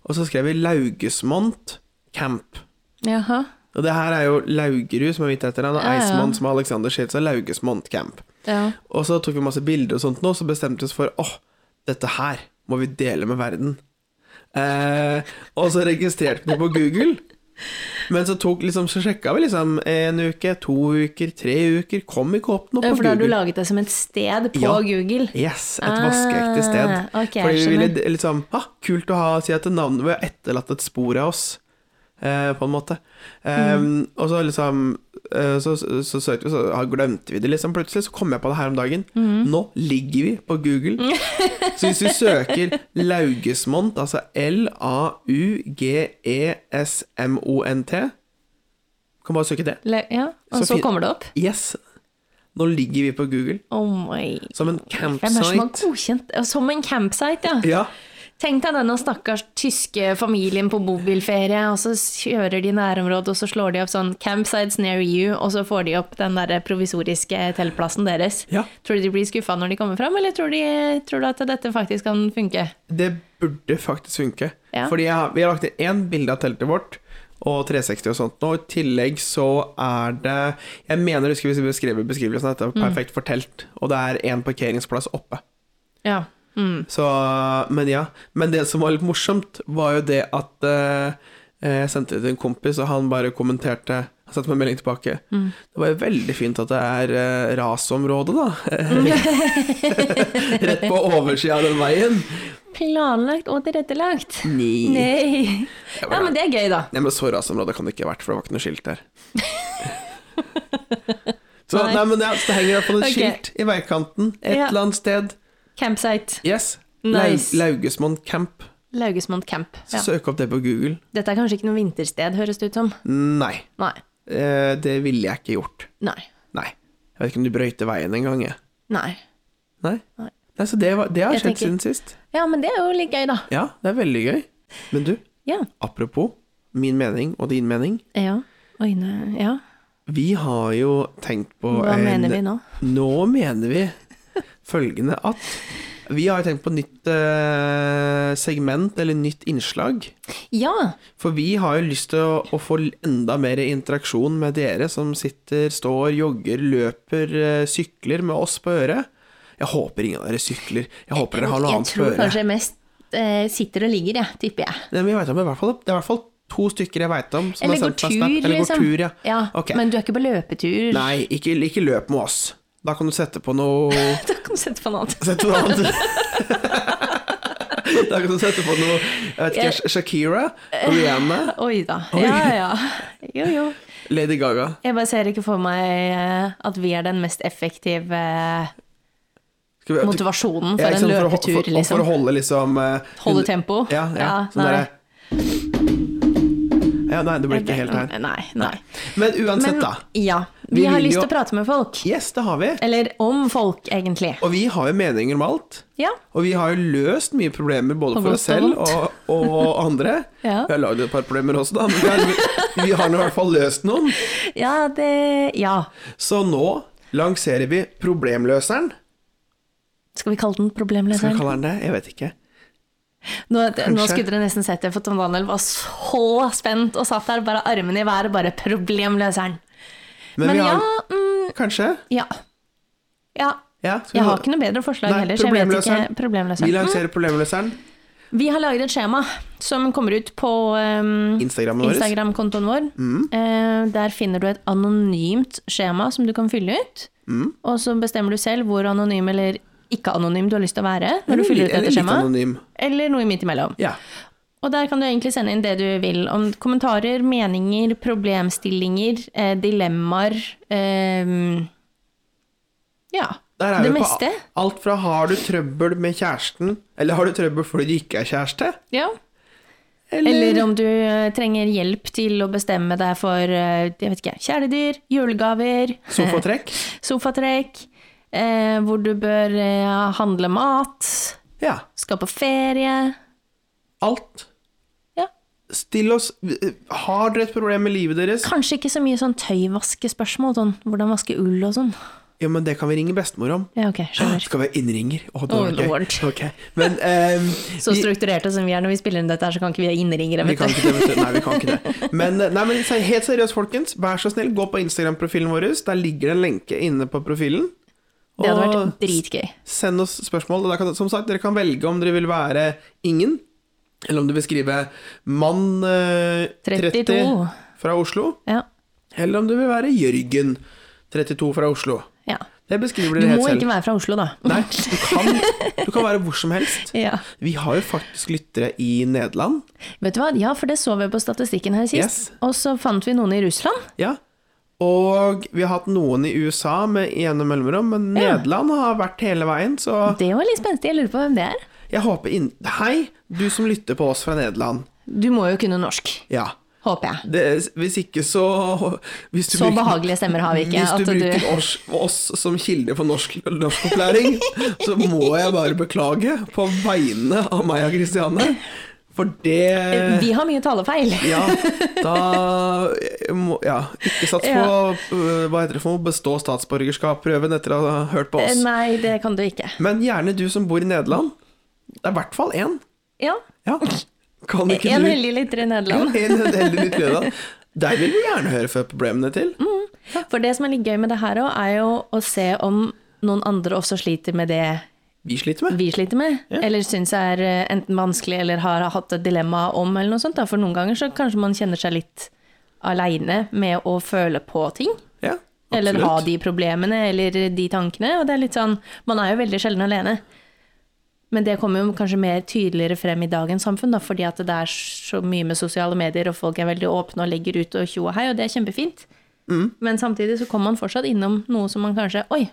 Speaker 1: og så skrev vi Laugesmont camp.
Speaker 2: Jaha.
Speaker 1: Og det her er jo Laugerud som er mitt etternavn, og
Speaker 2: Ja, ja.
Speaker 1: Eismont som er Alexander Schild, så Laugesmont camp.
Speaker 2: Ja.
Speaker 1: Og så tok vi masse bilder og sånt nå, så bestemte vi oss for åh, dette her må vi dele med verden. Eh, og så registrerte vi på Google. Men så, tok, liksom, så sjekka vi liksom en uke, to uker, tre uker. Kom ikke opp noe på
Speaker 2: Ja, For da har du
Speaker 1: Google.
Speaker 2: laget det som et sted på
Speaker 1: Ja.
Speaker 2: Google?
Speaker 1: Yes, et
Speaker 2: Ah,
Speaker 1: vaskeekte sted.
Speaker 2: ok, jeg
Speaker 1: Fordi vi ville
Speaker 2: skjønner.
Speaker 1: d- liksom ah, Kult å ha, si at navnet Vi har etterlatt et spor av oss, eh, på en måte.
Speaker 2: Mm.
Speaker 1: Eh, Og så liksom eh, så, så, så søkte vi, så ah, glemte vi det liksom. Plutselig så kom jeg på det her om dagen.
Speaker 2: Mm.
Speaker 1: Nå ligger vi på Google. så hvis vi søker Laugesmont, altså E L-A-U-G-E-S-M-O-N-T Kan bare søke det.
Speaker 2: Le- Ja,
Speaker 1: Så
Speaker 2: og så,
Speaker 1: fin-
Speaker 2: kommer det opp?
Speaker 1: Yes. Nå ligger vi på Google,
Speaker 2: Oh my
Speaker 1: som en
Speaker 2: Hvem er det som har
Speaker 1: campsite.
Speaker 2: godkjent Som en campsite, ja.
Speaker 1: Ja.
Speaker 2: Tenk deg denne stakkars tyske familien på bobilferie, og så kjører de nærområdet, og så slår de opp sånn 'campsites near you', og så får de opp den der provisoriske teltplassen deres.
Speaker 1: Ja.
Speaker 2: Tror du de blir skuffa når de kommer fram, eller tror, de, tror du at dette faktisk kan funke?
Speaker 1: Det burde faktisk funke.
Speaker 2: Ja.
Speaker 1: Fordi jeg, har- vi har lagt inn én bilde av teltet vårt, og 360 og sånt nå. I tillegg så er det Jeg mener, husker vi beskrev i beskrivelsen at det
Speaker 2: Mm.
Speaker 1: er perfekt for telt, og det er én parkeringsplass oppe.
Speaker 2: Ja. Mm.
Speaker 1: Så Men ja. Men det som var litt morsomt, var jo det at eh, eh, jeg sendte det til en kompis, og han bare kommenterte Han sendte meg en melding tilbake.
Speaker 2: Mm.
Speaker 1: Det var jo veldig fint at det er eh, rasområde, da. Rett på oversida av den veien.
Speaker 2: Planlagt og tilrettelagt.
Speaker 1: Nei.
Speaker 2: Nei. Ja, men det er gøy, da.
Speaker 1: Nei, men så rasområde kan det ikke ha vært, for det var ikke noe skilt der. så nei.
Speaker 2: Nei.
Speaker 1: men det, så det henger i hvert fall et
Speaker 2: Ok.
Speaker 1: skilt i veikanten et
Speaker 2: Ja.
Speaker 1: eller annet sted.
Speaker 2: Campsite.
Speaker 1: Yes.
Speaker 2: Nice.
Speaker 1: Lau, Laugesmoen camp.
Speaker 2: Laugesmont camp.
Speaker 1: Så
Speaker 2: Ja.
Speaker 1: søk opp det på Google.
Speaker 2: Dette er kanskje ikke noe vintersted, høres det ut som.
Speaker 1: Nei,
Speaker 2: Nei.
Speaker 1: eh, det ville jeg ikke gjort.
Speaker 2: Nei.
Speaker 1: Nei. Jeg vet ikke om du brøyter veien en gang, jeg.
Speaker 2: Nei.
Speaker 1: Nei.
Speaker 2: Nei.
Speaker 1: Nei, så det, var, det har
Speaker 2: Jeg
Speaker 1: skjedd
Speaker 2: tenker-
Speaker 1: siden sist.
Speaker 2: Ja, men det er jo litt gøy, da.
Speaker 1: Ja, det er veldig gøy. Men du,
Speaker 2: Ja.
Speaker 1: apropos min mening og din mening.
Speaker 2: Ja. Oi, nei. Ja.
Speaker 1: Vi har jo tenkt på
Speaker 2: Hva
Speaker 1: en
Speaker 2: mener vi nå?
Speaker 1: Nå mener vi følgende at vi har tenkt på nytt eh, segment, eller nytt innslag.
Speaker 2: Ja.
Speaker 1: For vi har jo lyst til å, å få enda mer interaksjon med dere som sitter, står, jogger, løper, eh, sykler med oss på øret. Jeg håper ingen av dere sykler. Jeg håper dere har noe
Speaker 2: Jeg
Speaker 1: annet på
Speaker 2: tror
Speaker 1: øret.
Speaker 2: kanskje jeg mest eh, sitter og ligger, jeg, tipper jeg.
Speaker 1: Nei, men jeg vet om, det er i hvert fall, det er i hvert fall to stykker jeg veit om. som har
Speaker 2: Eller går
Speaker 1: sendt meg
Speaker 2: tur,
Speaker 1: snap. Eller går
Speaker 2: liksom.
Speaker 1: tur, ja. Ok.
Speaker 2: Men du er ikke på løpetur.
Speaker 1: Nei, ikke, ikke løp med oss. Da kan du sette på noe
Speaker 2: Da kan du sette på noe annet.
Speaker 1: Sett på noe annet. Da kan du sette på noe Jeg vet ikke, Sha- Shakira, Rihanna,
Speaker 2: Oi da.
Speaker 1: Oi.
Speaker 2: Ja ja. Jo jo.
Speaker 1: Lady Gaga.
Speaker 2: Jeg bare ser ikke for meg eh, at vi er den mest effektive eh,
Speaker 1: Skal vi-
Speaker 2: motivasjonen
Speaker 1: Ja,
Speaker 2: for
Speaker 1: ikke
Speaker 2: en
Speaker 1: sant, for å-
Speaker 2: løpetur,
Speaker 1: for, For å
Speaker 2: liksom.
Speaker 1: holde liksom eh,
Speaker 2: Holde tempo.
Speaker 1: Ja, ja, sånn
Speaker 2: nei.
Speaker 1: derre ja, Nei, det ble ikke helt her.
Speaker 2: Nei, nei.
Speaker 1: Men uansett,
Speaker 2: Men
Speaker 1: da.
Speaker 2: ja,
Speaker 1: Vi
Speaker 2: vi, har
Speaker 1: vil
Speaker 2: lyst
Speaker 1: jo-
Speaker 2: til å prate med folk.
Speaker 1: Yes, det har vi.
Speaker 2: Eller om folk, egentlig.
Speaker 1: Og vi har jo meninger om alt.
Speaker 2: Ja.
Speaker 1: Og vi har jo løst mye problemer både
Speaker 2: På
Speaker 1: for oss
Speaker 2: godt
Speaker 1: selv
Speaker 2: og
Speaker 1: og, og andre.
Speaker 2: Ja.
Speaker 1: Vi har lagd et par problemer også, da, men vi har, vi, vi har nå i hvert fall løst noen.
Speaker 2: Ja, det Ja.
Speaker 1: Så nå lanserer vi Problemløseren.
Speaker 2: Skal vi kalle den
Speaker 1: Skal vi
Speaker 2: problemløseren?
Speaker 1: kalle den det? Jeg vet ikke.
Speaker 2: Nå, nå
Speaker 1: Kanskje.
Speaker 2: skulle dere nesten sett det, for Tom Daniel var så spent og satt der, bare armene i været, bare 'problemløseren'.
Speaker 1: Men,
Speaker 2: Men
Speaker 1: vi
Speaker 2: ja,
Speaker 1: har
Speaker 2: mm,
Speaker 1: Kanskje?
Speaker 2: ja. Ja.
Speaker 1: Ja, skal vi
Speaker 2: Jeg
Speaker 1: ha-
Speaker 2: har ikke noe bedre forslag
Speaker 1: Nei,
Speaker 2: heller, så jeg vet ikke.
Speaker 1: problemløseren. Vi
Speaker 2: Problemløseren.
Speaker 1: lanserer Problemløseren.
Speaker 2: Mm. Vi har laget et skjema som kommer ut på um,
Speaker 1: Instagrammen vår. Mm.
Speaker 2: Instagram-kontoen vår. Eh, der finner du et anonymt skjema som du kan fylle ut.
Speaker 1: Mm.
Speaker 2: Og så bestemmer du selv hvor anonym eller ikke anonym du har lyst til å være når du fyller ut
Speaker 1: Eller litt
Speaker 2: dette skjemaet.
Speaker 1: anonym.
Speaker 2: Eller noe midt imellom.
Speaker 1: Ja.
Speaker 2: Og der kan du egentlig sende inn det du vil. Om kommentarer, meninger, problemstillinger, eh, dilemmaer. Eh, ja.
Speaker 1: Der er
Speaker 2: det
Speaker 1: vi
Speaker 2: meste.
Speaker 1: på alt fra har du trøbbel med kjæresten, eller har du trøbbel fordi du ikke er kjæreste?
Speaker 2: Ja. Eller om du eh, trenger hjelp til å bestemme deg for eh, jeg vet ikke, kjæledyr, julegaver,
Speaker 1: sofatrekk?
Speaker 2: sofatrekk, eh, hvor du bør eh, handle mat,
Speaker 1: Ja.
Speaker 2: skal på ferie.
Speaker 1: Alt.
Speaker 2: Ja.
Speaker 1: Still oss Har dere et problem med livet deres?
Speaker 2: Kanskje ikke så mye sånn tøyvaskespørsmål, sånn hvordan vaske ull og sånn.
Speaker 1: Ja, men det kan vi ringe bestemor om.
Speaker 2: Ja, ok, skjønner.
Speaker 1: Skal vi ha innringer? Å, det
Speaker 2: Oh,
Speaker 1: var gøy.
Speaker 2: lord.
Speaker 1: Ok. Men ehm,
Speaker 2: Så
Speaker 1: vi-
Speaker 2: strukturerte som vi er når vi spiller inn dette, her, så kan ikke vi ha innringere.
Speaker 1: Vi
Speaker 2: Vet
Speaker 1: kan
Speaker 2: du.
Speaker 1: ikke det, vet du. Nei, vi kan ikke det. Men, eh, nei, men se- helt seriøst, folkens. Vær så snill, gå på Instagram-profilen vår. Der ligger det en lenke inne på profilen.
Speaker 2: Det hadde
Speaker 1: Og-
Speaker 2: vært dritgøy.
Speaker 1: Send oss spørsmål. Og da kan, som sagt, dere kan velge om dere vil være ingen, eller om du vil skrive mann eh,
Speaker 2: 32.
Speaker 1: 30 fra Oslo,
Speaker 2: Ja.
Speaker 1: eller om du vil være Jørgen 32 fra Oslo.
Speaker 2: ja.
Speaker 1: Det beskriver
Speaker 2: Du
Speaker 1: dere helt
Speaker 2: må ikke
Speaker 1: selv.
Speaker 2: være fra Oslo, da.
Speaker 1: Nei, du kan, du kan være hvor som helst.
Speaker 2: Ja.
Speaker 1: Vi har jo faktisk lyttere i Nederland.
Speaker 2: Vet du hva? Ja, for det så vi på statistikken her sist.
Speaker 1: Yes.
Speaker 2: Og så fant vi noen i Russland.
Speaker 1: Ja. Og vi har hatt noen i USA med ene mellomrom, men
Speaker 2: Ja.
Speaker 1: Nederland har vært hele veien, så
Speaker 2: Det var litt spenstig. Jeg lurer på hvem det er.
Speaker 1: jeg håper inn... Hei, du som lytter på oss fra Nederland.
Speaker 2: Du må jo kunne norsk,
Speaker 1: Ja.
Speaker 2: håper jeg.
Speaker 1: Det, hvis ikke så hvis du
Speaker 2: Så behagelige stemmer har vi ikke,
Speaker 1: Hvis du
Speaker 2: at du-
Speaker 1: bruker oss, oss som kilde for norsk, norskopplæring, så må jeg bare beklage på vegne av meg og Kristiane. For det
Speaker 2: Vi har mye talefeil.
Speaker 1: Ja, da må- Ja, ikke sats på øh, Hva heter det for noe? Bestå statsborgerskapsprøven etter å ha hørt på oss.
Speaker 2: Eh, Nei, det kan du ikke.
Speaker 1: Men gjerne du som bor i Nederland. Det er i hvert fall én.
Speaker 2: Ja.
Speaker 1: Ja. Kan ikke
Speaker 2: En
Speaker 1: du
Speaker 2: heldig lytter i Nederland.
Speaker 1: Ja, en heldig litt Nederland. Der vil vi gjerne høre før problemene til.
Speaker 2: Mm. For det som er litt gøy med det her òg, er jo å se om noen andre også sliter med det
Speaker 1: Vi sliter med.
Speaker 2: vi sliter med, eller syns er eh, enten vanskelig eller har hatt et dilemma om, eller noe sånt. Da. For noen ganger så kanskje man kjenner seg litt aleine med å føle på ting.
Speaker 1: Ja,
Speaker 2: Eller ha
Speaker 1: absolutt.
Speaker 2: de problemene eller de tankene. Og det er litt sånn Man er jo veldig sjelden alene. Men det kommer jo kanskje mer tydeligere frem i dagens samfunn, da, fordi at det er så mye med sosiale medier, og folk er veldig åpne og legger ut og tjo og hei, og det er kjempefint. Men samtidig så kommer man fortsatt innom noe som man kanskje Oi,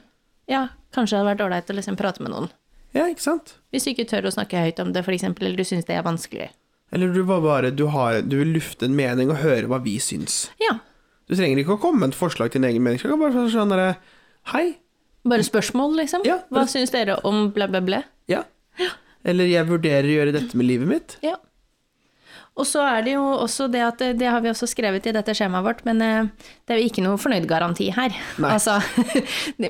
Speaker 2: ja, kanskje det hadde vært ålreit å liksom prate med noen.
Speaker 1: Ja, ikke sant?
Speaker 2: Hvis du ikke tør å snakke høyt om det, f.eks., eller du syns det er vanskelig.
Speaker 1: Eller du var bare du, har, du vil lufte en mening og høre hva vi syns.
Speaker 2: Ja.
Speaker 1: Du trenger ikke å komme med et forslag til en egen mening. Du kan bare være sånn derre Hei.
Speaker 2: Bare spørsmål, liksom.
Speaker 1: Ja,
Speaker 2: Hva
Speaker 1: bare-
Speaker 2: syns dere om bla, bla, bla?
Speaker 1: Ja. Eller jeg vurderer å gjøre dette med livet mitt.
Speaker 2: Ja. Og så er det jo også det at eh, Det har vi også skrevet i dette skjemaet vårt, men eh, det er jo ikke noe fornøyd-garanti her.
Speaker 1: Nei.
Speaker 2: Altså,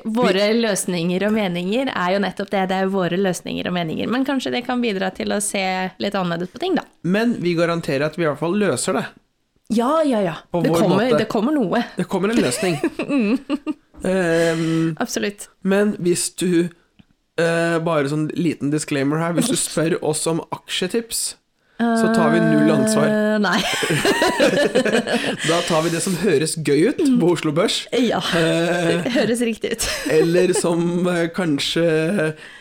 Speaker 2: våre løsninger og meninger er jo nettopp det. Det er jo våre løsninger og meninger. Men kanskje det kan bidra til å se litt annerledes på ting, da.
Speaker 1: Men vi garanterer at vi i hvert fall løser det.
Speaker 2: Ja, ja, ja.
Speaker 1: På
Speaker 2: Det
Speaker 1: vår
Speaker 2: kommer,
Speaker 1: måte.
Speaker 2: det kommer noe.
Speaker 1: Det kommer en løsning. Ehm,
Speaker 2: Absolutt.
Speaker 1: men hvis du eh, Bare sånn liten disclaimer her. Hvis du spør oss om aksjetips, så tar vi null ansvar.
Speaker 2: Eh, nei.
Speaker 1: Da tar vi det som høres gøy ut på Oslo Børs.
Speaker 2: Ja. Høres riktig ut.
Speaker 1: Eller som eh, kanskje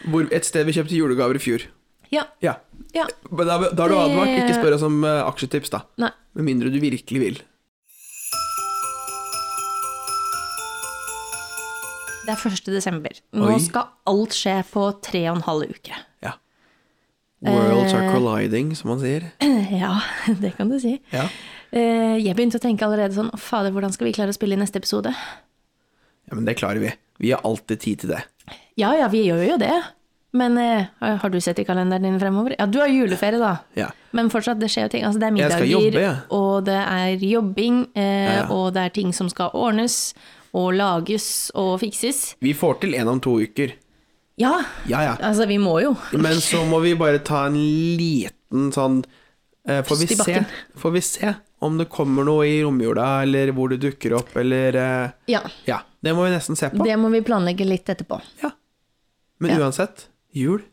Speaker 1: hvor, Et sted vi kjøpte julegaver i fjor.
Speaker 2: Ja.
Speaker 1: Ja.
Speaker 2: Ja.
Speaker 1: Men da, da er du advart. Ikke spør oss om eh, aksjetips, da.
Speaker 2: Nei.
Speaker 1: Med mindre du virkelig vil.
Speaker 2: Det er 1. desember. Nå
Speaker 1: Oi.
Speaker 2: skal alt skje på tre og en halv uke.
Speaker 1: Ja. Worlds are colliding, som man sier.
Speaker 2: Ja, det kan du si.
Speaker 1: Ja.
Speaker 2: Eh, jeg begynte å tenke allerede sånn «Å, Fader, hvordan skal vi klare å spille i neste episode?
Speaker 1: ja, men det klarer vi. Vi har alltid tid til det.
Speaker 2: Ja ja, vi gjør jo det. Men eh, har du sett i kalenderen din fremover? Ja, du har juleferie, da.
Speaker 1: Ja.
Speaker 2: Men fortsatt, det skjer jo ting. Altså, det er
Speaker 1: Jeg skal
Speaker 2: middager,
Speaker 1: jobbe, jeg.
Speaker 2: og det er jobbing, eh,
Speaker 1: Ja, ja.
Speaker 2: og det er ting som skal ordnes og lages og fikses.
Speaker 1: Vi får til en om to uker.
Speaker 2: Ja,
Speaker 1: Ja, ja.
Speaker 2: altså, vi må jo.
Speaker 1: Men så må vi bare ta en liten sånn eh, får,
Speaker 2: Pust i
Speaker 1: vi se,
Speaker 2: bakken.
Speaker 1: får vi se om det kommer noe i romjula, eller hvor det dukker opp, eller eh,
Speaker 2: Ja.
Speaker 1: Ja, det må vi nesten se på.
Speaker 2: Det må vi planlegge litt etterpå.
Speaker 1: Ja. Men uansett, jul.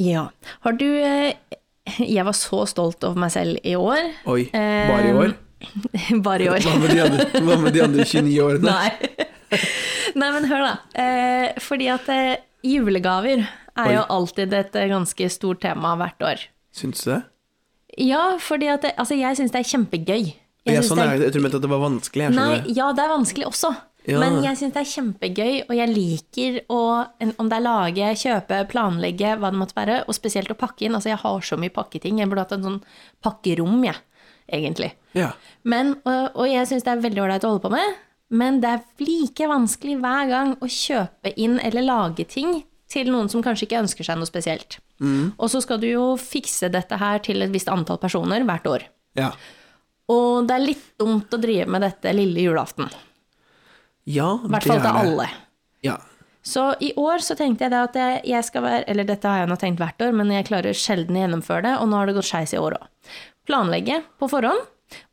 Speaker 2: Ja. Har du eh, Jeg var så stolt over meg selv i år.
Speaker 1: Oi,
Speaker 2: Eh,
Speaker 1: bare i år?
Speaker 2: Bare i år.
Speaker 1: Hva med de andre, hva med de andre 29 årene?
Speaker 2: Nei. Nei, men hør da. Eh, fordi at eh, julegaver er
Speaker 1: Oi.
Speaker 2: jo alltid et eh, ganske stort tema hvert år.
Speaker 1: Syns du det?
Speaker 2: Ja, fordi at det, altså, jeg syns det er kjempegøy.
Speaker 1: Jeg,
Speaker 2: synes
Speaker 1: sånn,
Speaker 2: det
Speaker 1: jeg, jeg tror du mente at det var vanskelig. Jeg
Speaker 2: Nei,
Speaker 1: skjønner det.
Speaker 2: ja, det er vanskelig også.
Speaker 1: Ja.
Speaker 2: Men jeg syns det er kjempegøy, og jeg liker å en- Om det er lage, kjøpe, planlegge, hå det måtte være, og spesielt å pakke inn. Altså, jeg har så mye pakketing. Jeg burde hatt en sånn pakkerom, jeg, egentlig.
Speaker 1: Ja.
Speaker 2: Men, og, og jeg syns det er veldig ålreit å holde på med, men det er like vanskelig hver gang å kjøpe inn eller lage ting til noen som kanskje ikke ønsker seg noe spesielt.
Speaker 1: Mm.
Speaker 2: Og så skal du jo fikse dette her til et visst antall personer hvert år.
Speaker 1: Ja.
Speaker 2: Og det er litt dumt å drive med dette lille julaften.
Speaker 1: ja
Speaker 2: I hvert fall til alle.
Speaker 1: Ja.
Speaker 2: Så i år så tenkte jeg da at jeg, jeg skal være Eller dette har jeg nå tenkt hvert år, men jeg klarer sjelden å gjennomføre det, og nå har det gått skeis i år òg. Planlegge på forhånd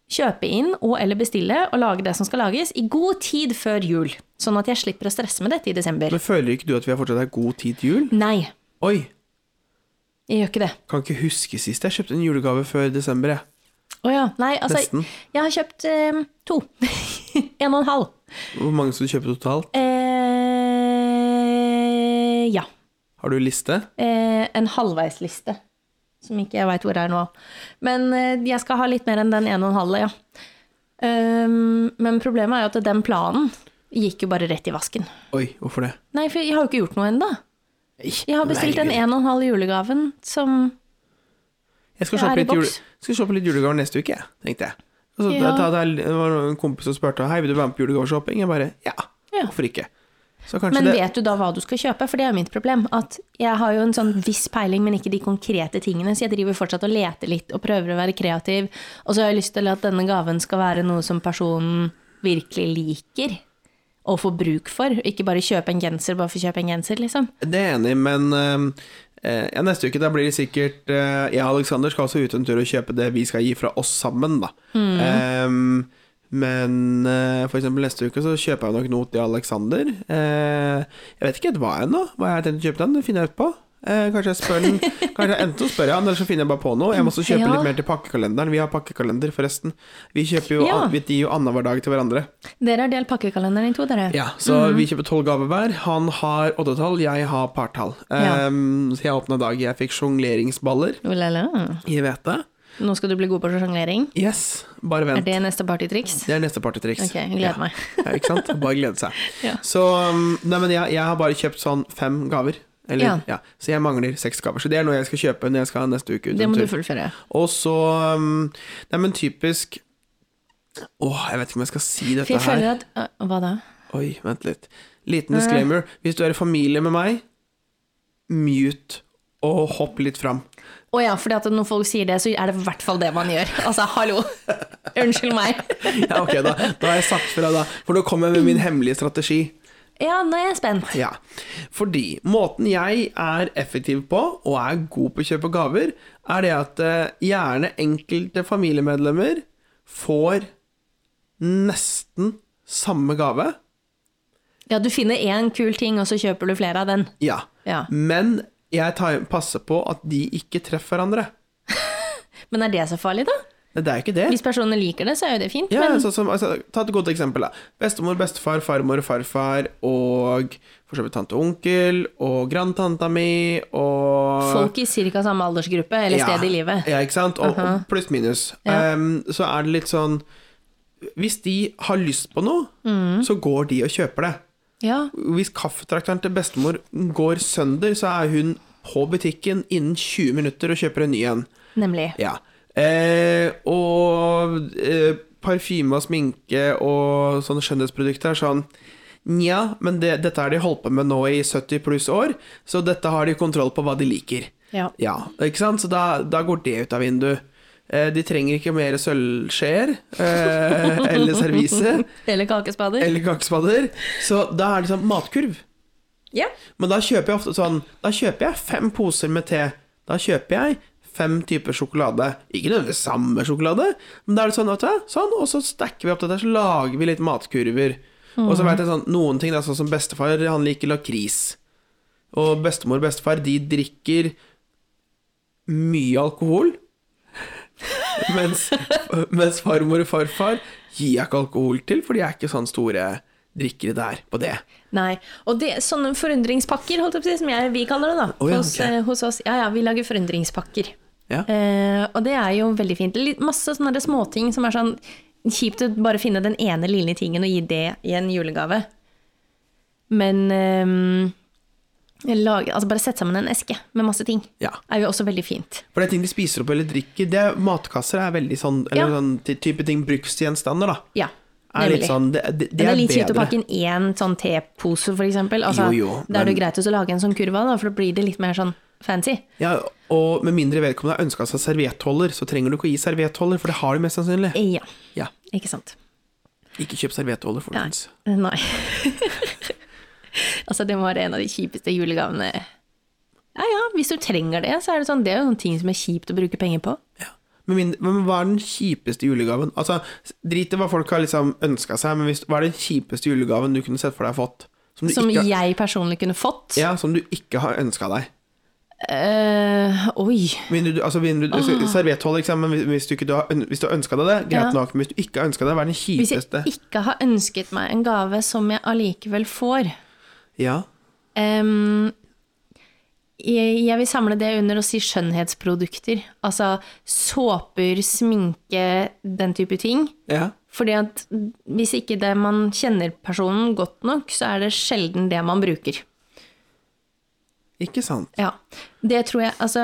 Speaker 2: kjøpe inn og eller bestille og lage det som skal lages i god tid før jul. Sånn at jeg slipper å stresse med dette i desember.
Speaker 1: Men føler ikke du at vi har fortsatt har god tid til jul?
Speaker 2: Nei,
Speaker 1: Oi,
Speaker 2: jeg gjør ikke det.
Speaker 1: kan ikke huske sist jeg kjøpte en julegave før desember, jeg.
Speaker 2: Å ja. Nei, altså,
Speaker 1: Nesten.
Speaker 2: jeg har kjøpt eh, to. en og en halv.
Speaker 1: Hvor mange skal du kjøpe totalt?
Speaker 2: Eh, ja.
Speaker 1: Har du liste?
Speaker 2: Eh, en halvveisliste, som ikke jeg veit hvor er nå. Men eh, jeg skal ha litt mer enn den en og en halve, ja. Ehm, men problemet er jo at den planen gikk jo bare rett i vasken.
Speaker 1: Oi, hvorfor det?
Speaker 2: Nei, for jeg har jo ikke gjort noe ennå. Jeg har bestilt
Speaker 1: Nei,
Speaker 2: den en og en halv julegaven som
Speaker 1: Jeg skal
Speaker 2: Jeg er
Speaker 1: kjøpe
Speaker 2: i
Speaker 1: litt, jule,
Speaker 2: boks.
Speaker 1: skal kjøpe litt julegaver neste uke, jeg, tenkte jeg. Og så
Speaker 2: Ja.
Speaker 1: da, da, det var en kompis som spurte Hei, vil du være med på julegaveshopping. Jeg bare ja,
Speaker 2: Ja.
Speaker 1: hvorfor ikke? Så kanskje
Speaker 2: Men
Speaker 1: Altså, det
Speaker 2: vet du da hva du skal kjøpe? For det er jo mitt problem. At jeg har jo en sånn viss peiling, men ikke de konkrete tingene. Så jeg driver fortsatt og leter litt og prøver å være kreativ. Og så har jeg lyst til at denne gaven skal være noe som personen virkelig liker. Og får bruk for. Ikke bare kjøpe en genser bare for å kjøpe en genser, liksom.
Speaker 1: Det er jeg enig, i, men eh, ja, neste uke da blir det sikkert eh, Jeg og Aleksander skal også ut en tur og kjøpe det vi skal gi fra oss sammen, da.
Speaker 2: Mm.
Speaker 1: Eh, men eh, for eksempel neste uke så kjøper jeg nok noe til Aleksander. Eh, jeg vet ikke helt hva ennå, hva jeg har tenkt å kjøpe til han, det finner jeg ut på. Eh, kanskje jeg spør den Kanskje enten så spør jeg han, eller så finner jeg bare på noe. Jeg må også kjøpe
Speaker 2: Ja.
Speaker 1: litt mer til pakkekalenderen. Vi har pakkekalender, forresten. Vi kjøper jo
Speaker 2: Ja.
Speaker 1: Vi gir jo annenhver dag til hverandre.
Speaker 2: Dere har delt pakkekalenderen i to, dere.
Speaker 1: Ja, så
Speaker 2: Mhm.
Speaker 1: vi kjøper tolv gaver hver. Han har åttetall, jeg har partall.
Speaker 2: Ja.
Speaker 1: Ehm, så jeg åpna dag jeg fikk sjongleringsballer
Speaker 2: Olala.
Speaker 1: i hvete.
Speaker 2: Nå skal du bli god på sjonglering.
Speaker 1: Yes, bare
Speaker 2: Er
Speaker 1: vent.
Speaker 2: det neste partytriks?
Speaker 1: Det er neste partytriks.
Speaker 2: Ok, jeg gleder meg.
Speaker 1: Ja, ikke sant? Bare glede seg.
Speaker 2: Ja.
Speaker 1: Så um, Nei, men jeg, jeg har bare kjøpt sånn fem gaver. Eller, ja.
Speaker 2: Ja.
Speaker 1: Så jeg mangler seks gaver. Så det er noe jeg skal kjøpe når jeg skal neste uke ut.
Speaker 2: Det
Speaker 1: en
Speaker 2: må du
Speaker 1: tur.
Speaker 2: fullføre.
Speaker 1: Og så um, Nei, men typisk Åh, jeg vet ikke om jeg skal si dette
Speaker 2: For jeg
Speaker 1: her.
Speaker 2: føler at øh, Hva da?
Speaker 1: Oi, vent litt. Liten disclaimer. Hvis du er i familie med meg, mute og hopp litt fram.
Speaker 2: Å ja, fordi at når folk sier det, så er det i hvert fall det man gjør. Altså, hallo. Unnskyld meg.
Speaker 1: Ja, ok, da, da har jeg sagt fra, da. For nå kommer jeg med min hemmelige strategi.
Speaker 2: Ja, nå er jeg spent.
Speaker 1: Ja. Fordi måten jeg er effektiv på, og er god på å kjøpe gaver, er det at eh, gjerne enkelte familiemedlemmer får nesten samme gave.
Speaker 2: Ja, du finner én kul ting, og så kjøper du flere av den.
Speaker 1: Ja.
Speaker 2: Ja.
Speaker 1: Men jeg tar, passer på at de ikke treffer hverandre.
Speaker 2: Men er det så farlig, da?
Speaker 1: Det er jo ikke det.
Speaker 2: Hvis personene liker det, så er jo det fint.
Speaker 1: Ja,
Speaker 2: men
Speaker 1: sånn som, altså, ta et godt eksempel. da Bestemor, bestefar, farmor og farfar og for så vidt tante og onkel og grandtanta mi og
Speaker 2: folk i ca. samme aldersgruppe eller sted i livet.
Speaker 1: Ja, ikke sant? Og, og pluss minus.
Speaker 2: Ja.
Speaker 1: Ehm, så er det litt sånn Hvis de har lyst på noe,
Speaker 2: Mm.
Speaker 1: så går de og kjøper det.
Speaker 2: Ja.
Speaker 1: Hvis kaffetrakteren til bestemor går sønder, så er hun på butikken innen 20 minutter og kjøper en ny en.
Speaker 2: Nemlig.
Speaker 1: Ja. Eh, og eh, parfyme og sminke og sånne skjønnhetsprodukter er sånn Nja, men det, dette har de holdt på med nå i 70 pluss år, så dette har de kontroll på hva de liker.
Speaker 2: Ja.
Speaker 1: Ja, ikke sant? Så da, da går det ut av vinduet. Eh, de trenger ikke mer sølvskjeer eh, eller servise
Speaker 2: Eller kakespader.
Speaker 1: eller kakespadder, så da er det sånn matkurv.
Speaker 2: Ja.
Speaker 1: Men da kjøper jeg ofte sånn Da kjøper jeg fem poser med te. Da kjøper jeg fem typer sjokolade. Ikke nødvendigvis samme sjokolade, men da er det sånn, vet du hva, sånn, og så stacker vi opp dette, så lager vi litt matkurver. Og så vet jeg sånn, noen ting, da, sånn som bestefar, han liker lakris. Og bestemor og bestefar, de drikker mye alkohol. Mens, mens farmor og farfar gir jeg ikke alkohol til, for de er ikke sånn store drikkere der på det.
Speaker 2: Nei. Og det, sånne forundringspakker, holdt jeg på å si, som jeg, vi kaller det, da.
Speaker 1: Å ja,
Speaker 2: hos,
Speaker 1: ok.
Speaker 2: eh, hos oss. Ja ja, vi lager forundringspakker.
Speaker 1: Ja.
Speaker 2: Eh, og det er jo veldig fint. Litt, masse sånne der småting som er sånn kjipt å bare finne den ene lille tingen og gi det i en julegave. Men eh, lage, altså bare sette sammen en eske med masse ting
Speaker 1: Ja.
Speaker 2: er jo også veldig fint.
Speaker 1: For det er ting de spiser opp eller drikker. Det, matkasser er veldig sånn Eller
Speaker 2: Ja.
Speaker 1: sånn ty- type ting bruksgjenstander, da.
Speaker 2: Ja.
Speaker 1: Er litt
Speaker 2: nemlig.
Speaker 1: sånn Det, det, det
Speaker 2: Men det er
Speaker 1: er
Speaker 2: litt kjipt å
Speaker 1: bedre.
Speaker 2: pakke inn én sånn tepose, for eksempel. Altså,
Speaker 1: Jo, jo,
Speaker 2: Da er det jo
Speaker 1: men-
Speaker 2: greit å lage en sånn kurv av, da, for da blir det litt mer sånn fancy.
Speaker 1: Ja, og med mindre vedkommende har ønska seg serviettholder, så trenger du ikke å gi serviettholder, for det har de mest sannsynlig.
Speaker 2: Ja,
Speaker 1: Ja.
Speaker 2: ikke sant.
Speaker 1: Ikke kjøp serviettholder, folkens.
Speaker 2: Nei. altså, det må være en av de kjipeste julegavene. Ja ja, hvis du trenger det, så er det sånn, det er jo noen ting som er kjipt å bruke penger på.
Speaker 1: Ja. Med mindre, men hva er den kjipeste julegaven? Altså, Drit i hva folk har liksom ønska seg, men hvis, hva er den kjipeste julegaven du kunne sett for deg fått? Som du,
Speaker 2: Som
Speaker 1: ikke,
Speaker 2: jeg personlig kunne fått.
Speaker 1: ja, som du ikke har ønska deg?
Speaker 2: Eh, oi.
Speaker 1: Mindre du, altså, mindre, du- altså, Servietthold, ikke sant, men hvis- hvis du, ikke, du har, øn- hvis du har ønska deg det, greit
Speaker 2: Ah. Ja.
Speaker 1: nok. Men hvis du ikke har ønska det, hva er den
Speaker 2: Hvis jeg
Speaker 1: kjipeste?
Speaker 2: ikke har ønsket meg en gave som jeg allikevel får
Speaker 1: Ja.
Speaker 2: Ehm, jeg, jeg vil samle det under å si skjønnhetsprodukter. Altså såper, sminke, den type ting.
Speaker 1: ja.
Speaker 2: Fordi at hvis ikke det man kjenner personen godt nok, så er det sjelden det man bruker.
Speaker 1: Ikke sant.
Speaker 2: Ja, det tror jeg Altså,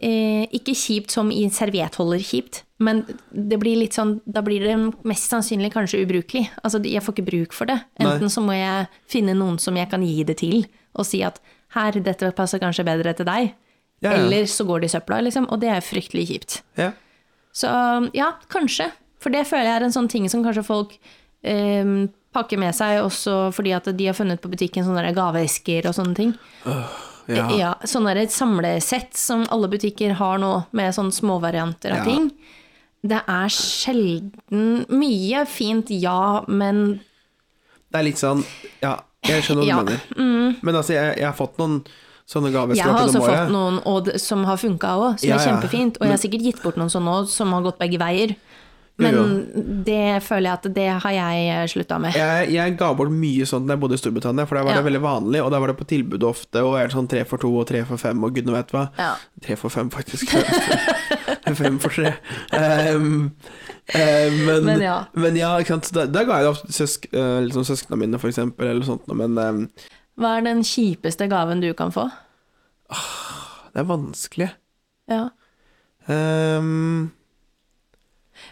Speaker 2: eh, ikke kjipt som i serviettholder-kjipt, men det blir litt sånn Da blir det mest sannsynlig kanskje ubrukelig. Altså, jeg får ikke bruk for det. Enten så må jeg finne noen som jeg kan gi det til, og si at her, dette passer kanskje bedre til deg.
Speaker 1: Ja, ja.
Speaker 2: Eller så går det i søpla, liksom. Og det er fryktelig kjipt.
Speaker 1: Ja.
Speaker 2: Så ja, kanskje. For det føler jeg er en sånn ting som kanskje folk eh, pakker med seg også fordi at de har funnet på butikken sånne der gaveesker og sånne ting.
Speaker 1: ja.
Speaker 2: Ja, sånn er det et samlesett som alle butikker har nå, med sånne småvarianter av
Speaker 1: Ja.
Speaker 2: ting. Det er sjelden mye fint, ja, men
Speaker 1: Det er litt sånn Ja, jeg skjønner hva
Speaker 2: Ja, Mm.
Speaker 1: du mener. Men altså, jeg, jeg har fått noen sånne gaver
Speaker 2: jeg har
Speaker 1: opp
Speaker 2: også
Speaker 1: gjennom året.
Speaker 2: fått noen og, det- som har funka òg, som
Speaker 1: Ja,
Speaker 2: er
Speaker 1: ja.
Speaker 2: kjempefint. Og jeg har sikkert gitt bort noen sånne òg, som har gått begge veier.
Speaker 1: Jo,
Speaker 2: Men
Speaker 1: jo.
Speaker 2: det føler jeg at det har jeg slutta med.
Speaker 1: Jeg, jeg ga bort mye sånt da jeg bodde i Storbritannia, for der var det
Speaker 2: Ja.
Speaker 1: veldig vanlig, og der var det på tilbud ofte, og er det sånn tre for to og tre for fem og gudene vet hva.
Speaker 2: Ja.
Speaker 1: Tre for fem, faktisk. fem for tre. Ehm, eh, men,
Speaker 2: Men
Speaker 1: men ja.
Speaker 2: ja.
Speaker 1: ikke sant. Så Da, da ga jeg det ofte søsk, eh, liksom søsknene mine, for eksempel, eller sånt, noe, men ehm,
Speaker 2: Hva er den kjipeste gaven du kan få?
Speaker 1: det er vanskelig.
Speaker 2: Ja.
Speaker 1: Ehm,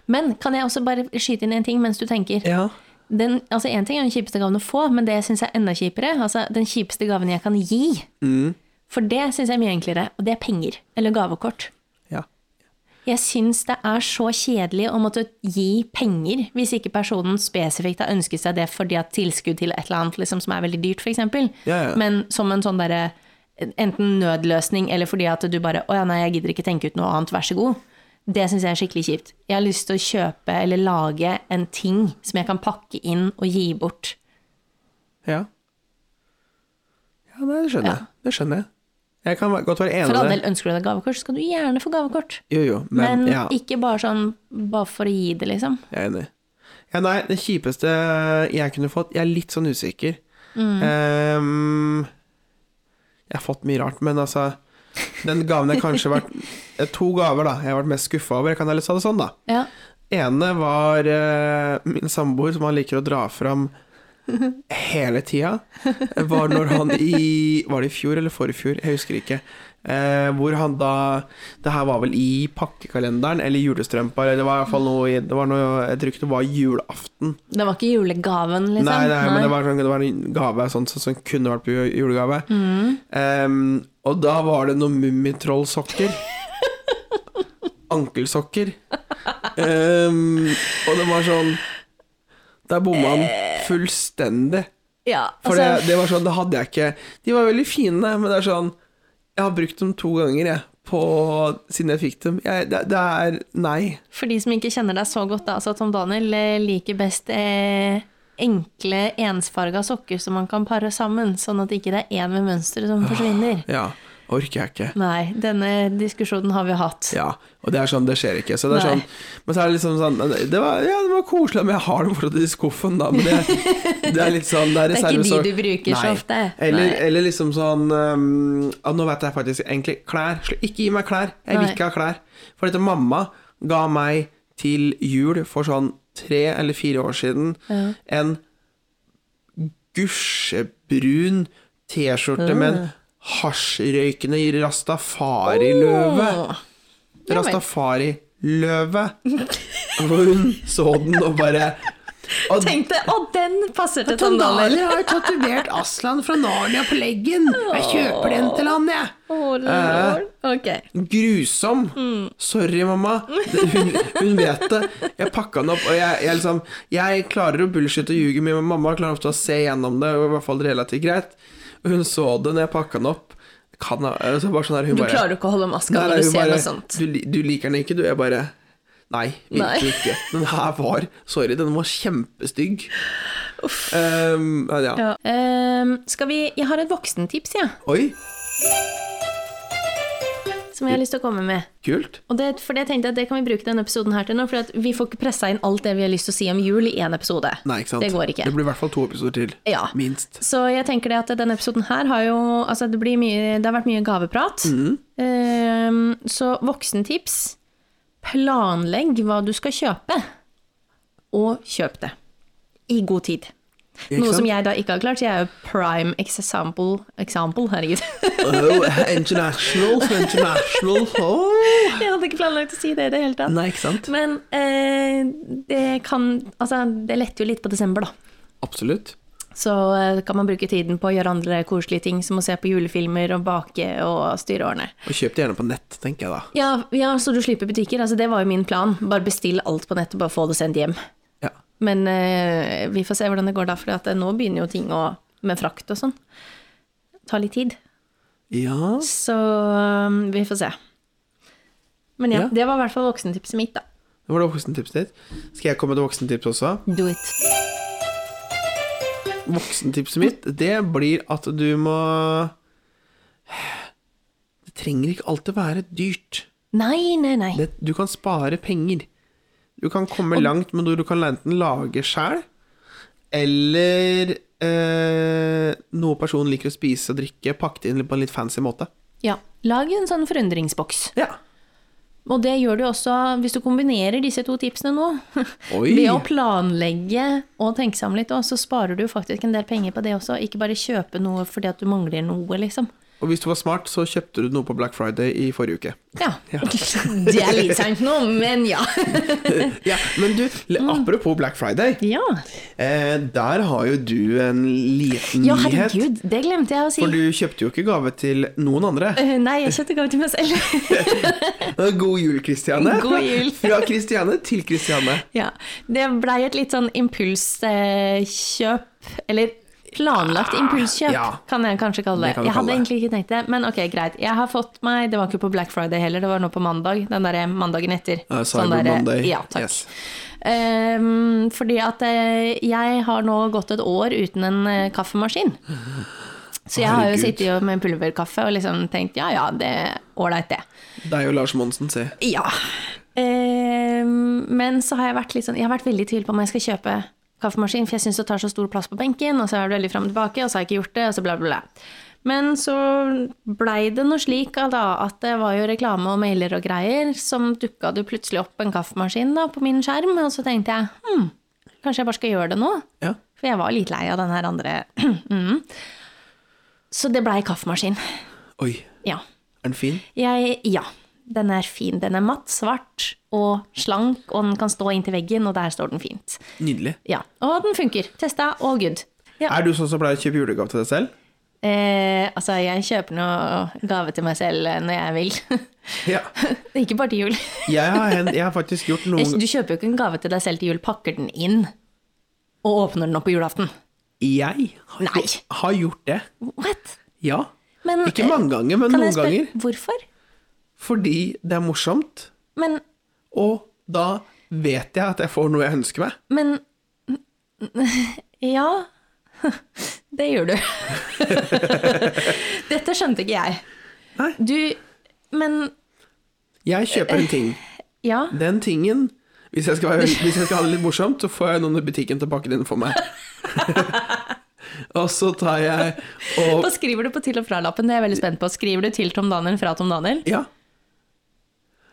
Speaker 2: Men kan jeg også bare skyte inn en ting mens du tenker?
Speaker 1: ja.
Speaker 2: Den, altså En ting er den kjipeste gaven å få, men det syns jeg er enda kjipere. Altså Den kjipeste gaven jeg kan gi. For det syns jeg er mye enklere, og det er penger. Eller gavekort.
Speaker 1: ja.
Speaker 2: Jeg syns det er så kjedelig å måtte gi penger hvis ikke personen spesifikt har ønsket seg det fordi at tilskudd til et eller annet liksom, som er veldig dyrt, f.eks.
Speaker 1: Ja, ja.
Speaker 2: Men som en sånn derre enten nødløsning eller fordi at du bare Å ja, nei, jeg gidder ikke tenke ut noe annet, vær så god. Det syns jeg er skikkelig kjipt. Jeg har lyst til å kjøpe eller lage en ting som jeg kan pakke inn og gi bort.
Speaker 1: Ja. Ja, nei, det skjønner jeg. Det skjønner jeg. Jeg kan være- godt være enig
Speaker 2: For all
Speaker 1: i
Speaker 2: del,
Speaker 1: det.
Speaker 2: ønsker du deg gavekort, så skal du gjerne få gavekort.
Speaker 1: Jo, jo, men,
Speaker 2: Men
Speaker 1: ja, jeg
Speaker 2: ikke bare sånn bare for å gi det, liksom.
Speaker 1: er enig. Ja, nei, det kjipeste jeg kunne fått Jeg er litt sånn usikker. Ehm, jeg har fått mye rart, men altså Den gaven jeg kanskje har vært eh, To gaver, da. Jeg har vært mest skuffa over. Jeg kan heller si det sånn, da.
Speaker 2: Ja.
Speaker 1: Ene var eh, min samboer, som han liker å dra fram hele tida. Eh, Var når han i Var det i fjor eller forrige fjor? Jeg husker ikke. Eh, hvor han da Det her var vel i pakkekalenderen eller julestrømpa, eller det var i hvert fall noe i- Det var noe Jeg tror ikke det var julaften.
Speaker 2: Det var ikke julegaven, liksom?
Speaker 1: Nei, nei, men det var, sånn- det var en gave sånn, sånn, som kunne vært på ju- julegave.
Speaker 2: Mm.
Speaker 1: Ehm, og da var det noen mummitrollsokker. Ankelsokker. Ehm, og det var sånn Der bomma han fullstendig.
Speaker 2: Ja,
Speaker 1: For
Speaker 2: altså,
Speaker 1: det, det var sånn, det hadde jeg ikke De var veldig fine, men det er sånn Jeg har brukt dem to ganger, jeg, på, siden jeg fikk dem. Jeg, det, det er Nei.
Speaker 2: For de som ikke kjenner deg så godt, da, så Tom Daniel eh, liker best eh, enkle, ensfarga sokker som man kan pare sammen, sånn at ikke det er én med mønsteret som forsvinner.
Speaker 1: Ja, orker jeg ikke.
Speaker 2: Nei, denne diskusjonen har vi hatt.
Speaker 1: Ja, og det er sånn, det skjer ikke. Så det er
Speaker 2: Nei.
Speaker 1: sånn, men så er det liksom sånn det var, Ja, det var koselig, men jeg har det fortsatt i skuffen, da. Men det, det er litt sånn Det er,
Speaker 2: Det er ikke
Speaker 1: reservesort-
Speaker 2: de du bruker så
Speaker 1: Nei.
Speaker 2: ofte.
Speaker 1: Eller,
Speaker 2: Nei.
Speaker 1: eller liksom sånn um, ja, Nå vet jeg faktisk egentlig Klær. Sl- Ikke gi meg klær. Jeg vil
Speaker 2: Nei.
Speaker 1: ikke ha klær. For dette mamma ga meg til jul for sånn tre eller fire år siden en gusjebrun T-skjorte med
Speaker 2: Mm.
Speaker 1: en hasjrøykende rastafariløve.
Speaker 2: Åh. Ja, men-
Speaker 1: Rastafari-løve. Hvor hun så den og bare og
Speaker 2: Tenkte, Å, den passer til
Speaker 1: Tom
Speaker 2: Tom Daniel!
Speaker 1: Dahler har tatovert Aslan fra Narnia på leggen. Jeg kjøper den til han, jeg.
Speaker 2: Å, lord.
Speaker 1: Eh.
Speaker 2: Ok.
Speaker 1: Grusom. Sorry, mamma. Det- Hun, hun vet det. Jeg pakka den opp, og jeg, jeg liksom Jeg klarer å bullshitte og ljuge mye, men mamma klarer ofte å se gjennom det, og i hvert fall relativt greit. Og Hun så det når jeg pakka den opp. Kan, ha- altså bare sånn her, hun
Speaker 2: Du
Speaker 1: bare,
Speaker 2: klarer ikke å holde maska
Speaker 1: Nei, nei,
Speaker 2: når du
Speaker 1: hun
Speaker 2: ser
Speaker 1: bare,
Speaker 2: noe sånt.
Speaker 1: Du, li- du liker den ikke, du. Jeg bare Nei, virkelig
Speaker 2: Nei.
Speaker 1: ikke. Den her var Sorry, den var kjempestygg. Ehm, ja.
Speaker 2: Ja. Ehm, skal vi Jeg har et voksentips, jeg,
Speaker 1: Oi,
Speaker 2: som jeg har lyst til å komme med.
Speaker 1: kult.
Speaker 2: Og det, for det tenkte jeg at det kan vi bruke denne episoden her til nå, for at vi får ikke pressa inn alt det vi har lyst til å si om jul i én episode.
Speaker 1: Nei, ikke sant.
Speaker 2: Det går ikke.
Speaker 1: Det blir i hvert fall to episoder til.
Speaker 2: Ja.
Speaker 1: Minst.
Speaker 2: Så jeg tenker det at denne episoden her har jo Altså, det, blir mye, det har vært mye gaveprat.
Speaker 1: Mm.
Speaker 2: Ehm, så voksentips Planlegg hva du skal kjøpe, og kjøp det. I god tid.
Speaker 1: Ikke
Speaker 2: Noe
Speaker 1: sant?
Speaker 2: som jeg da ikke har klart. så Jeg er jo prime example, example herregud.
Speaker 1: Oh, international, så international. Oh.
Speaker 2: Jeg hadde ikke planlagt å si det i det hele tatt.
Speaker 1: Nei, ikke sant.
Speaker 2: Men eh, det kan Altså, det letter jo litt på desember, da.
Speaker 1: Absolutt.
Speaker 2: Så eh, kan man bruke tiden på å gjøre andre koselige ting, som å se på julefilmer og bake og styre årene.
Speaker 1: Og kjøp det gjerne på nett, tenker jeg da.
Speaker 2: Ja, ja, så du slipper butikker. Altså, det var jo min plan. Bare bestill alt på nettet, bare få det sendt hjem.
Speaker 1: Ja.
Speaker 2: Men eh, vi får se hvordan det går da, for at eh, nå begynner jo ting å med frakt og sånn. Ta litt tid.
Speaker 1: ja.
Speaker 2: Så eh, vi får se. Men ja,
Speaker 1: Ja.
Speaker 2: det var i hvert fall voksentipset mitt, da.
Speaker 1: Det var det voksentipset ditt. Skal jeg komme med et voksentips også?
Speaker 2: Do it.
Speaker 1: Voksentipset mitt, det blir at du må Det trenger ikke alltid være dyrt.
Speaker 2: Nei, nei, nei.
Speaker 1: Det, du kan spare penger. Du kan komme langt med noe du kan enten lage sjæl, eller eh, noe personen liker å spise og drikke, pakket inn på en litt fancy måte.
Speaker 2: Ja, lag en sånn forundringsboks.
Speaker 1: Ja.
Speaker 2: Og det gjør du også hvis du kombinerer disse to tipsene nå.
Speaker 1: Oi.
Speaker 2: Ved å planlegge og tenke seg om litt også, så sparer du faktisk en del penger på det også. Ikke bare kjøpe noe fordi at du mangler noe, liksom.
Speaker 1: Og hvis du var smart, så kjøpte du noe på Black Friday i forrige uke.
Speaker 2: Ja. det er litt seint nå, men ja. Mm.
Speaker 1: Ja, Men du, le- apropos Black Friday.
Speaker 2: ja.
Speaker 1: Eh, der har jo du en liten
Speaker 2: Ja,
Speaker 1: nyhet.
Speaker 2: herregud, det glemte jeg å si.
Speaker 1: For du kjøpte jo ikke gave til noen andre.
Speaker 2: Eh, Nei, jeg kjøpte gave til meg selv.
Speaker 1: God jul, Kristiane.
Speaker 2: God jul.
Speaker 1: Fra Kristiane til Kristiane.
Speaker 2: Ja, Det blei et litt sånn impulskjøp, eller planlagt impulskjøp,
Speaker 1: Ah, Ja.
Speaker 2: kan jeg kanskje kalle det.
Speaker 1: Det kan du
Speaker 2: Jeg
Speaker 1: kalle
Speaker 2: hadde
Speaker 1: det.
Speaker 2: egentlig ikke tenkt det, men ok, greit. Jeg har fått meg, det var ikke på Black Friday heller, det var nå på mandag, den derre mandagen etter.
Speaker 1: Ja, Cyber
Speaker 2: derre-
Speaker 1: Monday.
Speaker 2: sånn eh, Ja, takk.
Speaker 1: Yes.
Speaker 2: Ehm, fordi at eh, jeg har nå gått et år uten en eh, kaffemaskin. Så jeg har jo
Speaker 1: Herregud.
Speaker 2: sittet jo med pulverkaffe og liksom tenkt ja ja, det er ålreit det.
Speaker 1: Det er jo Lars Monsen, si.
Speaker 2: Ja. Ehm, men så har jeg vært litt sånn Jeg har vært veldig i tvil på om jeg skal kjøpe kaffemaskin, for jeg syns det tar så stor plass på benken, og så er det veldig fram og tilbake, og så har jeg ikke gjort det, og så bla, bla, bla. Men så blei det noe slik da, at det var jo reklame og mailer og greier, som dukka det plutselig opp en kaffemaskin da, på min skjerm, og så tenkte jeg hm, kanskje jeg bare skal gjøre det nå?
Speaker 1: Ja.
Speaker 2: For jeg var litt lei av den her andre mm. Så det blei kaffemaskin.
Speaker 1: Oi,
Speaker 2: Ja.
Speaker 1: er den fin?
Speaker 2: Jeg, ja. Den er fin. Den er matt, svart og slank, og den kan stå inntil veggen, og der står den fint.
Speaker 1: Nydelig.
Speaker 2: Ja, Og den funker. Testa og good. Ja.
Speaker 1: Er du sånn som pleier å kjøpe julegave til deg selv?
Speaker 2: Eh, altså, jeg kjøper noe gave til meg selv eh, når jeg vil.
Speaker 1: Ja.
Speaker 2: Det er ikke bare til jul.
Speaker 1: Jeg har, hen- jeg har faktisk gjort noen
Speaker 2: Du kjøper jo ikke en gave til deg selv til jul, pakker den inn og åpner den opp på julaften.
Speaker 1: Jeg har,
Speaker 2: Nei.
Speaker 1: har gjort det.
Speaker 2: What?
Speaker 1: Ja.
Speaker 2: Men,
Speaker 1: Ikke mange ganger, men
Speaker 2: Kan
Speaker 1: noen
Speaker 2: jeg spørre
Speaker 1: ganger.
Speaker 2: hvorfor?
Speaker 1: Fordi det er morsomt,
Speaker 2: Men,
Speaker 1: og da vet jeg at jeg får noe jeg ønsker meg.
Speaker 2: men Ja. Det gjør du. Dette skjønte ikke jeg.
Speaker 1: Nei.
Speaker 2: Du, men
Speaker 1: Jeg kjøper en ting.
Speaker 2: ja.
Speaker 1: Den tingen hvis jeg, skal være, hvis jeg skal ha det litt morsomt, så får jeg noen i butikken til å pakke den for meg. og så tar jeg og
Speaker 2: Hva skriver du på til og fra-lappen? Det er jeg veldig spent på. Skriver du til Tom Daniel fra Tom Daniel?
Speaker 1: Ja.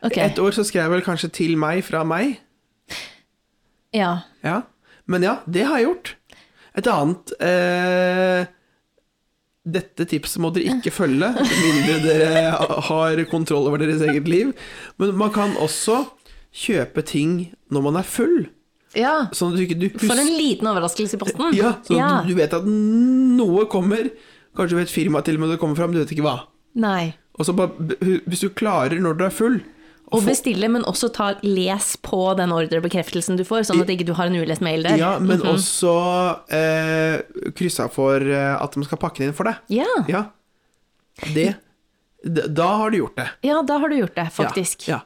Speaker 2: Ok.
Speaker 1: Et år så skrev jeg vel kanskje 'til meg' fra meg.
Speaker 2: Ja.
Speaker 1: Ja. Men ja, det har jeg gjort. Et annet eh, Dette tipset må dere ikke følge, med mindre dere har kontroll over deres eget liv. Men man kan også kjøpe ting når man er full,
Speaker 2: ja.
Speaker 1: sånn at du ikke du
Speaker 2: For en liten overraskelse i posten.
Speaker 1: Ja, så
Speaker 2: ja.
Speaker 1: Du, du vet at noe kommer. Kanskje du vet firmaet til og med det kommer fram, du vet ikke hva.
Speaker 2: Nei.
Speaker 1: Og så bare, Hvis du klarer når du er full
Speaker 2: Å bestille, men også ta les på den ordrebekreftelsen du får, sånn at ikke du har en ulest mail der.
Speaker 1: Ja, men også eh, kryssa for eh, at de skal pakke den inn for deg.
Speaker 2: Ja.
Speaker 1: Ja. Det d- Da har du gjort det.
Speaker 2: Ja, da har du gjort det, faktisk.
Speaker 1: Ja. ja.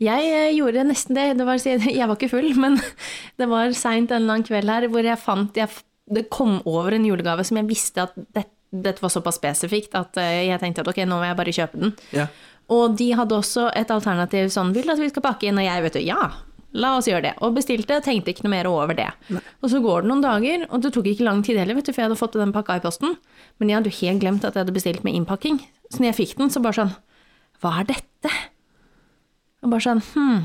Speaker 2: Jeg eh, gjorde nesten det. det var, å si- jeg var ikke full, men det var seint en eller annen kveld her hvor jeg fant jeg, f- Det kom over en julegave som jeg visste at det, dette var såpass spesifikt at eh, jeg tenkte at ok, nå må jeg bare kjøpe den.
Speaker 1: Ja.
Speaker 2: Og de hadde også et alternativ sånn, vil du at vi skal pakke inn? Og jeg vet jo, ja, la oss gjøre det. Og bestilte, tenkte ikke noe mer over det. Og så går det noen dager, og det tok ikke lang tid heller, vet du, for jeg hadde fått den pakka i posten. Men jeg hadde jo helt glemt at jeg hadde bestilt med innpakking. Så når jeg fikk den, så bare sånn, hva er dette? Og bare sånn, hm,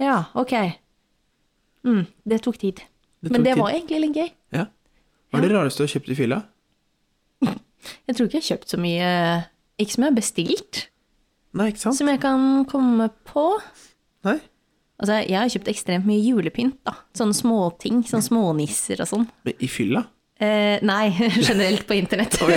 Speaker 2: ja, ok. Mm, det tok tid.
Speaker 1: Det tok
Speaker 2: Men det
Speaker 1: tid.
Speaker 2: var egentlig litt gøy.
Speaker 1: ja. Hva er det rareste du har kjøpt i fylla?
Speaker 2: Jeg tror ikke jeg har kjøpt så mye, eh, ikke som jeg har bestilt,
Speaker 1: Nei, ikke sant?
Speaker 2: som jeg kan komme på.
Speaker 1: Nei?
Speaker 2: Altså, jeg har kjøpt ekstremt mye julepynt, da. Sånne småting. Sånne smånisser og sånn.
Speaker 1: Men i fylla?
Speaker 2: Eh, nei, generelt på internett. Som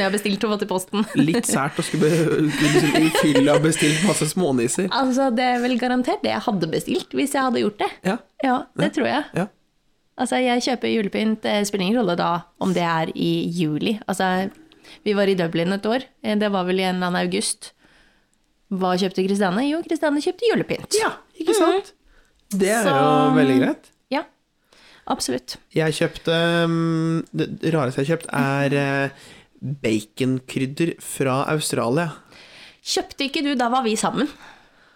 Speaker 2: jeg har bestilt og fått i posten.
Speaker 1: Litt sært å skulle be- i fylla bestilt masse smånisser.
Speaker 2: Altså, det er vel garantert det jeg hadde bestilt, hvis jeg hadde gjort det.
Speaker 1: Ja.
Speaker 2: Ja, det tror jeg.
Speaker 1: Ja.
Speaker 2: Altså, jeg kjøper julepynt. Det spiller ingen rolle da om det er i juli. Altså, vi var i Dublin et år. Eh, Det var vel i en eller annen august. Hva kjøpte Kristiane? Jo, Kristiane kjøpte julepynt.
Speaker 1: ja, ikke sant?
Speaker 2: Mhm.
Speaker 1: Det er jo
Speaker 2: Så-
Speaker 1: veldig greit.
Speaker 2: Ja, absolutt.
Speaker 1: Jeg kjøpte um, Det det rareste jeg har kjøpt, er eh, baconkrydder fra Australia.
Speaker 2: Kjøpte ikke du, da var vi sammen.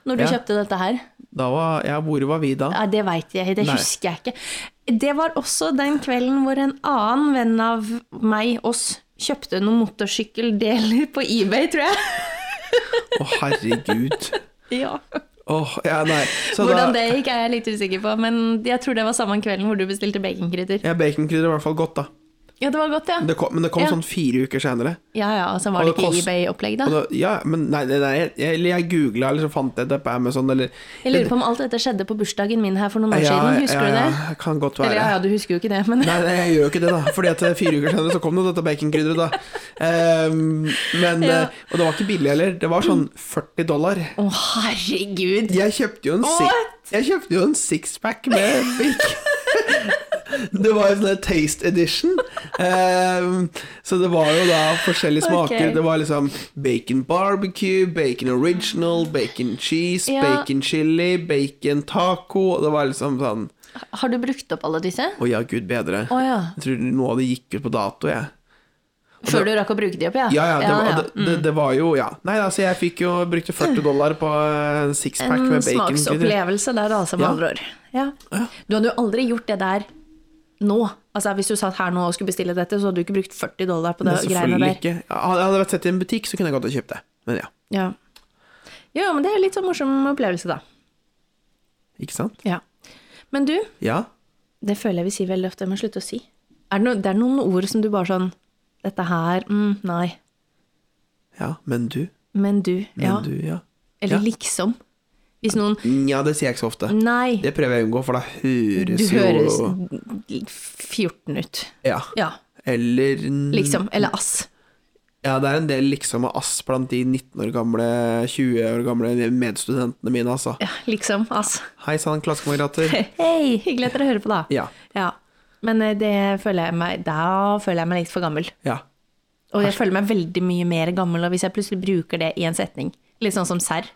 Speaker 2: Når du
Speaker 1: Ja.
Speaker 2: kjøpte dette her.
Speaker 1: Da var Ja, hvor var vi da?
Speaker 2: Ja, det veit jeg, det
Speaker 1: Nei.
Speaker 2: husker jeg ikke. Det var også den kvelden hvor en annen venn av meg, oss, kjøpte noen motorsykkeldeler på eBay, tror jeg.
Speaker 1: Å, herregud.
Speaker 2: Ja.
Speaker 1: Åh, ja, nei. Så da-
Speaker 2: Hvordan det gikk er jeg litt usikker på, men jeg tror det var samme kvelden hvor du bestilte baconkrydder.
Speaker 1: Ja, baconkrydder var i hvert fall godt, da.
Speaker 2: Ja, det var godt, ja.
Speaker 1: Det kom, men det kom
Speaker 2: Ja.
Speaker 1: sånn fire uker senere.
Speaker 2: Ja ja, altså var
Speaker 1: Og
Speaker 2: det
Speaker 1: det
Speaker 2: ikke
Speaker 1: kost-
Speaker 2: eBay-opplegg, da?
Speaker 1: Og da, ja, men nei, nei, nei jeg, jeg, jeg googla, eller så fant jeg det på Amazon, eller
Speaker 2: Jeg lurer på om alt dette skjedde på bursdagen min her for noen år siden, husker du det?
Speaker 1: Ja, kan godt
Speaker 2: Eller
Speaker 1: være.
Speaker 2: ja, ja, du husker jo ikke det, men
Speaker 1: Nei, nei, jeg gjør jo ikke det, da. Fordi at eh, fire uker senere så kom jo dette baconkrydderet, da. Ehm, men
Speaker 2: Ja.
Speaker 1: eh, Og det var ikke billig heller. Det var sånn 40 dollar.
Speaker 2: Å, herregud!
Speaker 1: Jeg kjøpte jo en,
Speaker 2: What?
Speaker 1: six, jeg kjøpte jo en sixpack med bacon. Det var jo sånn der taste edition. Ehm, så det var jo da forskjellige smaker.
Speaker 2: Ok.
Speaker 1: Det var liksom bacon barbecue, bacon original, bacon cheese,
Speaker 2: Ja.
Speaker 1: bacon chili, bacon taco. Det var liksom sånn
Speaker 2: Har du brukt opp alle disse?
Speaker 1: Å ja, gud bedre.
Speaker 2: Å ja.
Speaker 1: Jeg tror noe av det gikk ut på dato, jeg.
Speaker 2: Før du rakk å bruke de opp, ja?
Speaker 1: Ja, ja, det, var,
Speaker 2: ja.
Speaker 1: Det, det, det var jo Ja. Nei, altså, jeg fikk jo brukte 40 dollar på en sixpack
Speaker 2: En
Speaker 1: med bacon.
Speaker 2: smaksopplevelse der, altså, med
Speaker 1: Ja.
Speaker 2: andre ord. Ja. Du hadde jo aldri gjort det der nå. Altså, hvis du satt her nå og skulle bestille dette, så hadde du ikke brukt 40 dollar på det
Speaker 1: Men
Speaker 2: greiene
Speaker 1: selvfølgelig
Speaker 2: der.
Speaker 1: ikke. Hadde jeg vært sett i en butikk, så kunne jeg godt ha kjøpt det. Men ja,
Speaker 2: Ja. Jo, men det er litt sånn morsom opplevelse, da.
Speaker 1: ikke sant?
Speaker 2: Ja. Men du,
Speaker 1: Ja.
Speaker 2: det føler jeg vi sier veldig ofte, jeg må slutte å si. Er det, no, det er noen ord som du bare sånn Dette her, mm, nei.
Speaker 1: Ja, men du.
Speaker 2: Men du,
Speaker 1: Men
Speaker 2: ja.
Speaker 1: du, ja.
Speaker 2: Eller
Speaker 1: ja.
Speaker 2: liksom. Hvis noen
Speaker 1: Nja, det sier jeg ikke så ofte.
Speaker 2: Nei,
Speaker 1: Det prøver jeg å unngå, for da høres
Speaker 2: du høres
Speaker 1: jo
Speaker 2: 14 ut.
Speaker 1: Ja.
Speaker 2: Ja.
Speaker 1: Eller Mm.
Speaker 2: Liksom. Eller ass.
Speaker 1: Ja, det er en del liksom og ass blant de 19 år gamle, 20 år gamle medstudentene mine, altså.
Speaker 2: Ja, liksom. Ass.
Speaker 1: Hei sann, klassekamerater.
Speaker 2: Hei, hyggelig at dere hører på, da.
Speaker 1: Ja.
Speaker 2: Men eh, det føler jeg meg, da føler jeg meg litt for gammel.
Speaker 1: Ja.
Speaker 2: Og jeg føler meg veldig mye mer gammel og hvis jeg plutselig bruker det i en setning. Litt sånn som serr.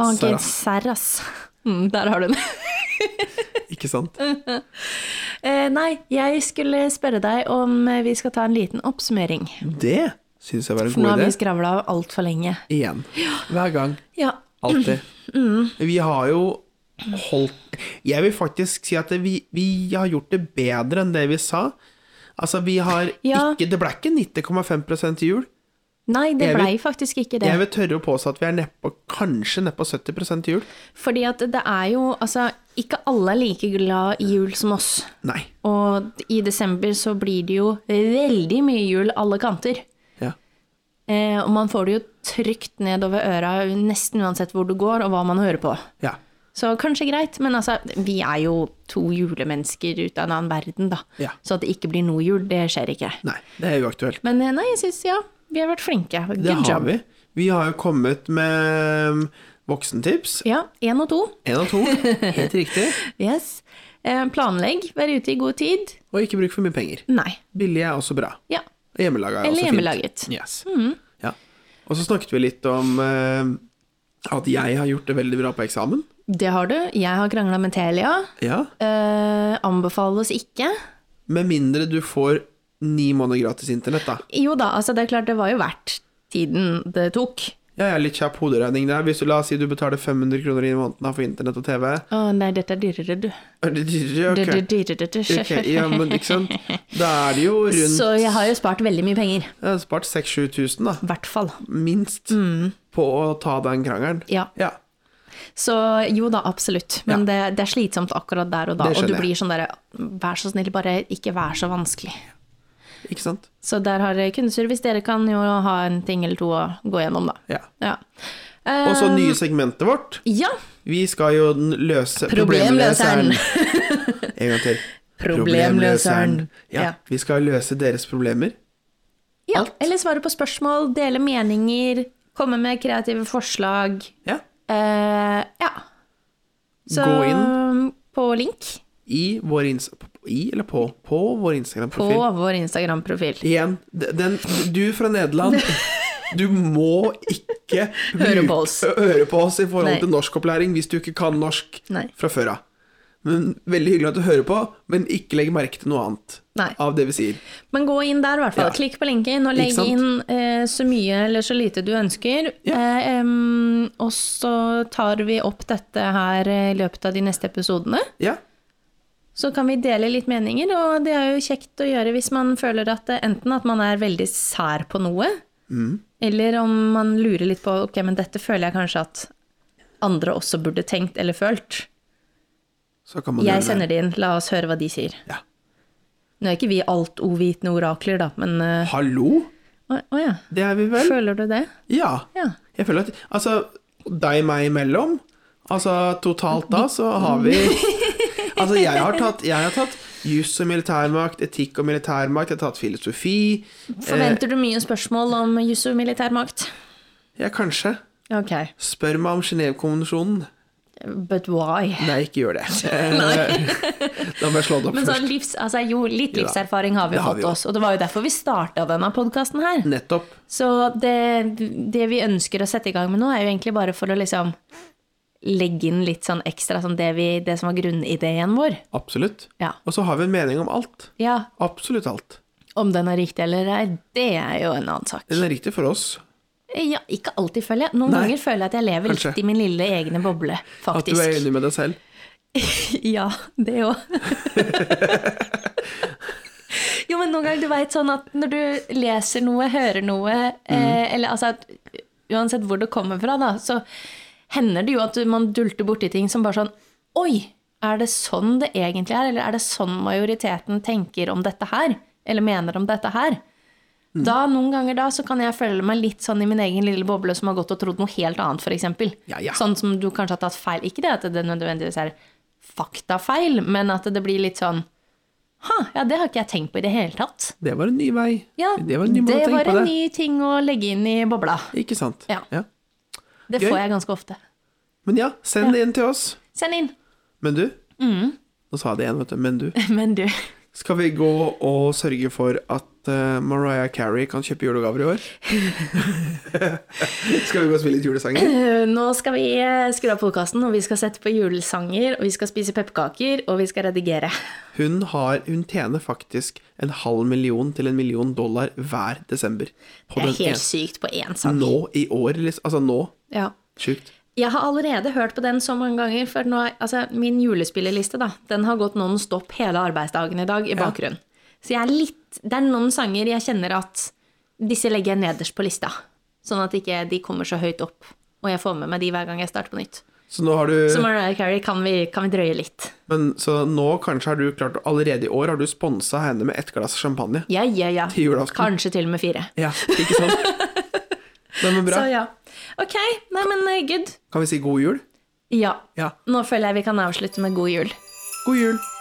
Speaker 2: Å,
Speaker 1: Serr,
Speaker 2: gud,
Speaker 1: ass.
Speaker 2: serr, ass. Mm, der har du den.
Speaker 1: Ikke sant?
Speaker 2: Eh, nei, jeg skulle spørre deg om eh, vi skal ta en liten oppsummering.
Speaker 1: Det syns jeg var en
Speaker 2: For nå
Speaker 1: god
Speaker 2: har
Speaker 1: idé.
Speaker 2: vi skravla altfor lenge.
Speaker 1: Igjen. Hver gang.
Speaker 2: Ja.
Speaker 1: Alltid.
Speaker 2: Mm.
Speaker 1: Vi har jo holdt Jeg vil faktisk si at vi, vi har gjort det bedre enn det vi sa. Altså, vi har
Speaker 2: Ja.
Speaker 1: ikke Det ble ikke 90,5 til jul.
Speaker 2: Nei, det
Speaker 1: Jeg vil-
Speaker 2: blei faktisk ikke det.
Speaker 1: Jeg vil tørre å påstå at vi er nedpå kanskje nedpå 70 til jul.
Speaker 2: Fordi at det er jo Altså, ikke alle er like glad i jul som oss.
Speaker 1: Nei.
Speaker 2: Og i desember så blir det jo veldig mye jul alle kanter.
Speaker 1: Ja.
Speaker 2: Eh, og man får det jo trygt nedover øra nesten uansett hvor du går og hva man hører på.
Speaker 1: ja.
Speaker 2: Så kanskje greit, men altså, vi er jo to julemennesker ut av en annen verden, da.
Speaker 1: Ja.
Speaker 2: Så at det ikke blir noe jul, det skjer ikke.
Speaker 1: Nei, det er uaktuelt.
Speaker 2: Men eh, nei, jeg syns ja, vi har vært flinke. Good
Speaker 1: Det har
Speaker 2: job.
Speaker 1: vi. Vi har jo kommet med um, voksentips.
Speaker 2: Ja, én og to.
Speaker 1: Én og to. Helt riktig.
Speaker 2: Yes. Eh, planlegg, være ute i god tid.
Speaker 1: Og ikke bruk for mye penger.
Speaker 2: Nei.
Speaker 1: Billig er også bra.
Speaker 2: Ja.
Speaker 1: Og Hjemmelaga er
Speaker 2: Eller Mm.
Speaker 1: også
Speaker 2: hjemmelaget.
Speaker 1: fint. Yes. Ja. Og så snakket vi litt om eh, At jeg har gjort det veldig bra på eksamen.
Speaker 2: Det har du. Jeg har krangla med Telia.
Speaker 1: Ja.
Speaker 2: Eh, anbefales ikke.
Speaker 1: Med mindre du får ni måneder gratis internett, da.
Speaker 2: Jo da, altså det er klart det var jo verdt tiden det tok.
Speaker 1: Ja, jeg er litt kjapp hoderegning der. Hvis du la oss si du betaler 500 kroner i måneden da for internett og TV
Speaker 2: Å nei, dette er dyrere, du.
Speaker 1: Er det dyrere?
Speaker 2: Du, du,
Speaker 1: Ok.
Speaker 2: du, du, du, du.
Speaker 1: Ok, ja, men ikke sant. Da er det jo rundt
Speaker 2: Så jeg har jo spart veldig mye penger.
Speaker 1: Jeg har spart 6000-7000, da.
Speaker 2: I hvert fall.
Speaker 1: Minst. På å ta den krangelen.
Speaker 2: Mm. Ja.
Speaker 1: Ja.
Speaker 2: Så jo da, absolutt. Men det, det er slitsomt akkurat der og da.
Speaker 1: Det
Speaker 2: Og du
Speaker 1: skjønner jeg.
Speaker 2: blir sånn derre Vær så snill, bare ikke vær så vanskelig.
Speaker 1: Ikke sant?
Speaker 2: Så der har jeg kundeservice. Dere kan jo ha en ting eller to å gå gjennom, da.
Speaker 1: Ja.
Speaker 2: Ja.
Speaker 1: Og så
Speaker 2: Eh,
Speaker 1: nye segmentet vårt.
Speaker 2: Ja.
Speaker 1: Vi skal jo den løse
Speaker 2: Problemløseren.
Speaker 1: En gang til.
Speaker 2: Problemløseren.
Speaker 1: Ja,
Speaker 2: Ja.
Speaker 1: vi skal løse deres problemer.
Speaker 2: ja. Eller svare på spørsmål, dele meninger, komme med kreative forslag.
Speaker 1: Ja.
Speaker 2: Eh, ja. Så um,
Speaker 1: Gå inn.
Speaker 2: på link
Speaker 1: I vår ins... I eller på? På vår
Speaker 2: på
Speaker 1: Instagram-profil.
Speaker 2: vår Instagram-profil.
Speaker 1: Igjen, d- den, du fra Nederland, du må ikke
Speaker 2: Høre
Speaker 1: bruke-
Speaker 2: på oss.
Speaker 1: høre på oss i forhold
Speaker 2: Nei.
Speaker 1: til norskopplæring hvis du ikke kan norsk
Speaker 2: Nei.
Speaker 1: fra før av. Men Veldig hyggelig at du hører på, men ikke legg merke til noe annet
Speaker 2: Nei.
Speaker 1: av det vi sier.
Speaker 2: Men gå inn der, i hvert fall.
Speaker 1: Ja.
Speaker 2: Klikk på linken og
Speaker 1: Ikke
Speaker 2: legg
Speaker 1: sant?
Speaker 2: inn eh, så mye eller så lite du ønsker.
Speaker 1: Ja.
Speaker 2: Eh, em, og så tar vi opp dette her eh, i løpet av de neste episodene.
Speaker 1: Ja,
Speaker 2: Så kan vi dele litt meninger, og det er jo kjekt å gjøre hvis man føler at eh, enten at man er veldig sær på noe,
Speaker 1: Mm.
Speaker 2: eller om man lurer litt på ok, men dette føler jeg kanskje at andre også burde tenkt eller følt.
Speaker 1: så kan man
Speaker 2: Jeg
Speaker 1: gjøre
Speaker 2: sender det inn, la oss høre hva de sier.
Speaker 1: Ja.
Speaker 2: Nå er ikke vi altovitende orakler, da, men eh,
Speaker 1: Hallo,
Speaker 2: Å å ja.
Speaker 1: det er vi vel?
Speaker 2: Føler du det?
Speaker 1: Ja.
Speaker 2: Ja.
Speaker 1: Jeg føler at Altså, deg meg imellom, altså totalt da, så har vi Altså, jeg har tatt, jeg har tatt juss og militærmakt, etikk og militærmakt, jeg har tatt filosofi
Speaker 2: Forventer du mye spørsmål om juss og militær makt?
Speaker 1: Ja, kanskje.
Speaker 2: Ok.
Speaker 1: Spør meg om Genévekonvensjonen.
Speaker 2: But why?
Speaker 1: Nei, ikke gjør det. Eh, da må jeg slå det opp
Speaker 2: Men
Speaker 1: først.
Speaker 2: sånn livs, altså jo, litt
Speaker 1: Jo da.
Speaker 2: livserfaring har vi
Speaker 1: Det
Speaker 2: jo
Speaker 1: har vi jo.
Speaker 2: fått oss, og det var jo derfor vi starta denne podkasten her.
Speaker 1: Nettopp.
Speaker 2: Så det, det vi ønsker å sette i gang med nå, er jo egentlig bare for å liksom legge inn litt sånn ekstra sånn det, vi, det som var grunnideen vår.
Speaker 1: Absolutt.
Speaker 2: Ja.
Speaker 1: Og så har vi en mening om alt.
Speaker 2: ja.
Speaker 1: Absolutt alt.
Speaker 2: Om den er riktig eller ei, det er jo en annen sak.
Speaker 1: Den er riktig for oss.
Speaker 2: Eh, Ja, ikke alltid, føler jeg. Noen
Speaker 1: Nei.
Speaker 2: ganger føler jeg at jeg lever
Speaker 1: Kanskje.
Speaker 2: litt i min lille egne boble,
Speaker 1: At du er
Speaker 2: faktisk.
Speaker 1: enig med deg selv.
Speaker 2: Ja, det òg. jo, men noen ganger du veit sånn at når du leser noe, hører noe,
Speaker 1: Mm.
Speaker 2: eh, eller altså at uansett hvor det kommer fra, da, så hender det jo at du- man dulter borti ting som bare sånn Oi! Er det sånn det egentlig er? Eller er det sånn majoriteten tenker om dette her? Eller mener om dette her?
Speaker 1: Mm.
Speaker 2: Da, Noen ganger da så kan jeg føle meg litt sånn i min egen lille boble som har gått og trodd noe helt annet, f.eks.
Speaker 1: Ja, ja.
Speaker 2: Sånn som du kanskje har tatt feil. Ikke det at det nødvendigvis er faktafeil, men at det blir litt sånn Ha, ja, det har ikke jeg tenkt på i det hele tatt.
Speaker 1: Det var en ny vei.
Speaker 2: Ja,
Speaker 1: det var en ny måte å tenke
Speaker 2: var
Speaker 1: på
Speaker 2: en
Speaker 1: det.
Speaker 2: ny ting å legge inn i bobla.
Speaker 1: Ikke sant.
Speaker 2: Ja. Det
Speaker 1: Gøy.
Speaker 2: får jeg ganske ofte.
Speaker 1: Men ja, send det inn til oss.
Speaker 2: Send inn.
Speaker 1: Men du
Speaker 2: Mm.
Speaker 1: Nå sa jeg det igjen, vet du. Men du.
Speaker 2: Men du,
Speaker 1: Skal vi gå og sørge for at eh, Mariah Carey kan kjøpe julegaver i år? Skal vi gå og spille litt julesanger?
Speaker 2: eh, nå skal vi eh, skru av podkasten, og vi skal sette på julesanger, og vi skal spise pepperkaker, og vi skal redigere.
Speaker 1: Hun, har, hun tjener faktisk en halv million til en million dollar hver desember. På
Speaker 2: Det er
Speaker 1: den
Speaker 2: helt sykt på én
Speaker 1: ene-
Speaker 2: sang.
Speaker 1: Nå i år, liksom. Altså nå.
Speaker 2: Ja.
Speaker 1: Sjukt.
Speaker 2: Jeg har allerede hørt på den så mange ganger, for nå, er- altså, min julespillerliste da, den har gått non stop hele arbeidsdagen i dag i bakgrunnen. Så jeg er litt, det er noen sanger jeg kjenner at disse legger jeg nederst på lista, sånn at ikke de kommer så høyt opp, og jeg får med meg de hver gang jeg starter på nytt.
Speaker 1: Så nå har du
Speaker 2: Så Mariah Carey kan vi, kan vi drøye litt.
Speaker 1: Men så nå kanskje har du klart Allerede i år har du sponsa henne med ett glass champagne.
Speaker 2: Ja, ja, ja.
Speaker 1: Til julaften.
Speaker 2: Kanskje til og med fire.
Speaker 1: Ja, ikke sant? Nei, men bra.
Speaker 2: Så ja. Ok, nei men eh, good.
Speaker 1: Kan vi si god jul?
Speaker 2: Ja,
Speaker 1: Ja.
Speaker 2: nå føler jeg vi kan avslutte med god jul.
Speaker 1: God jul.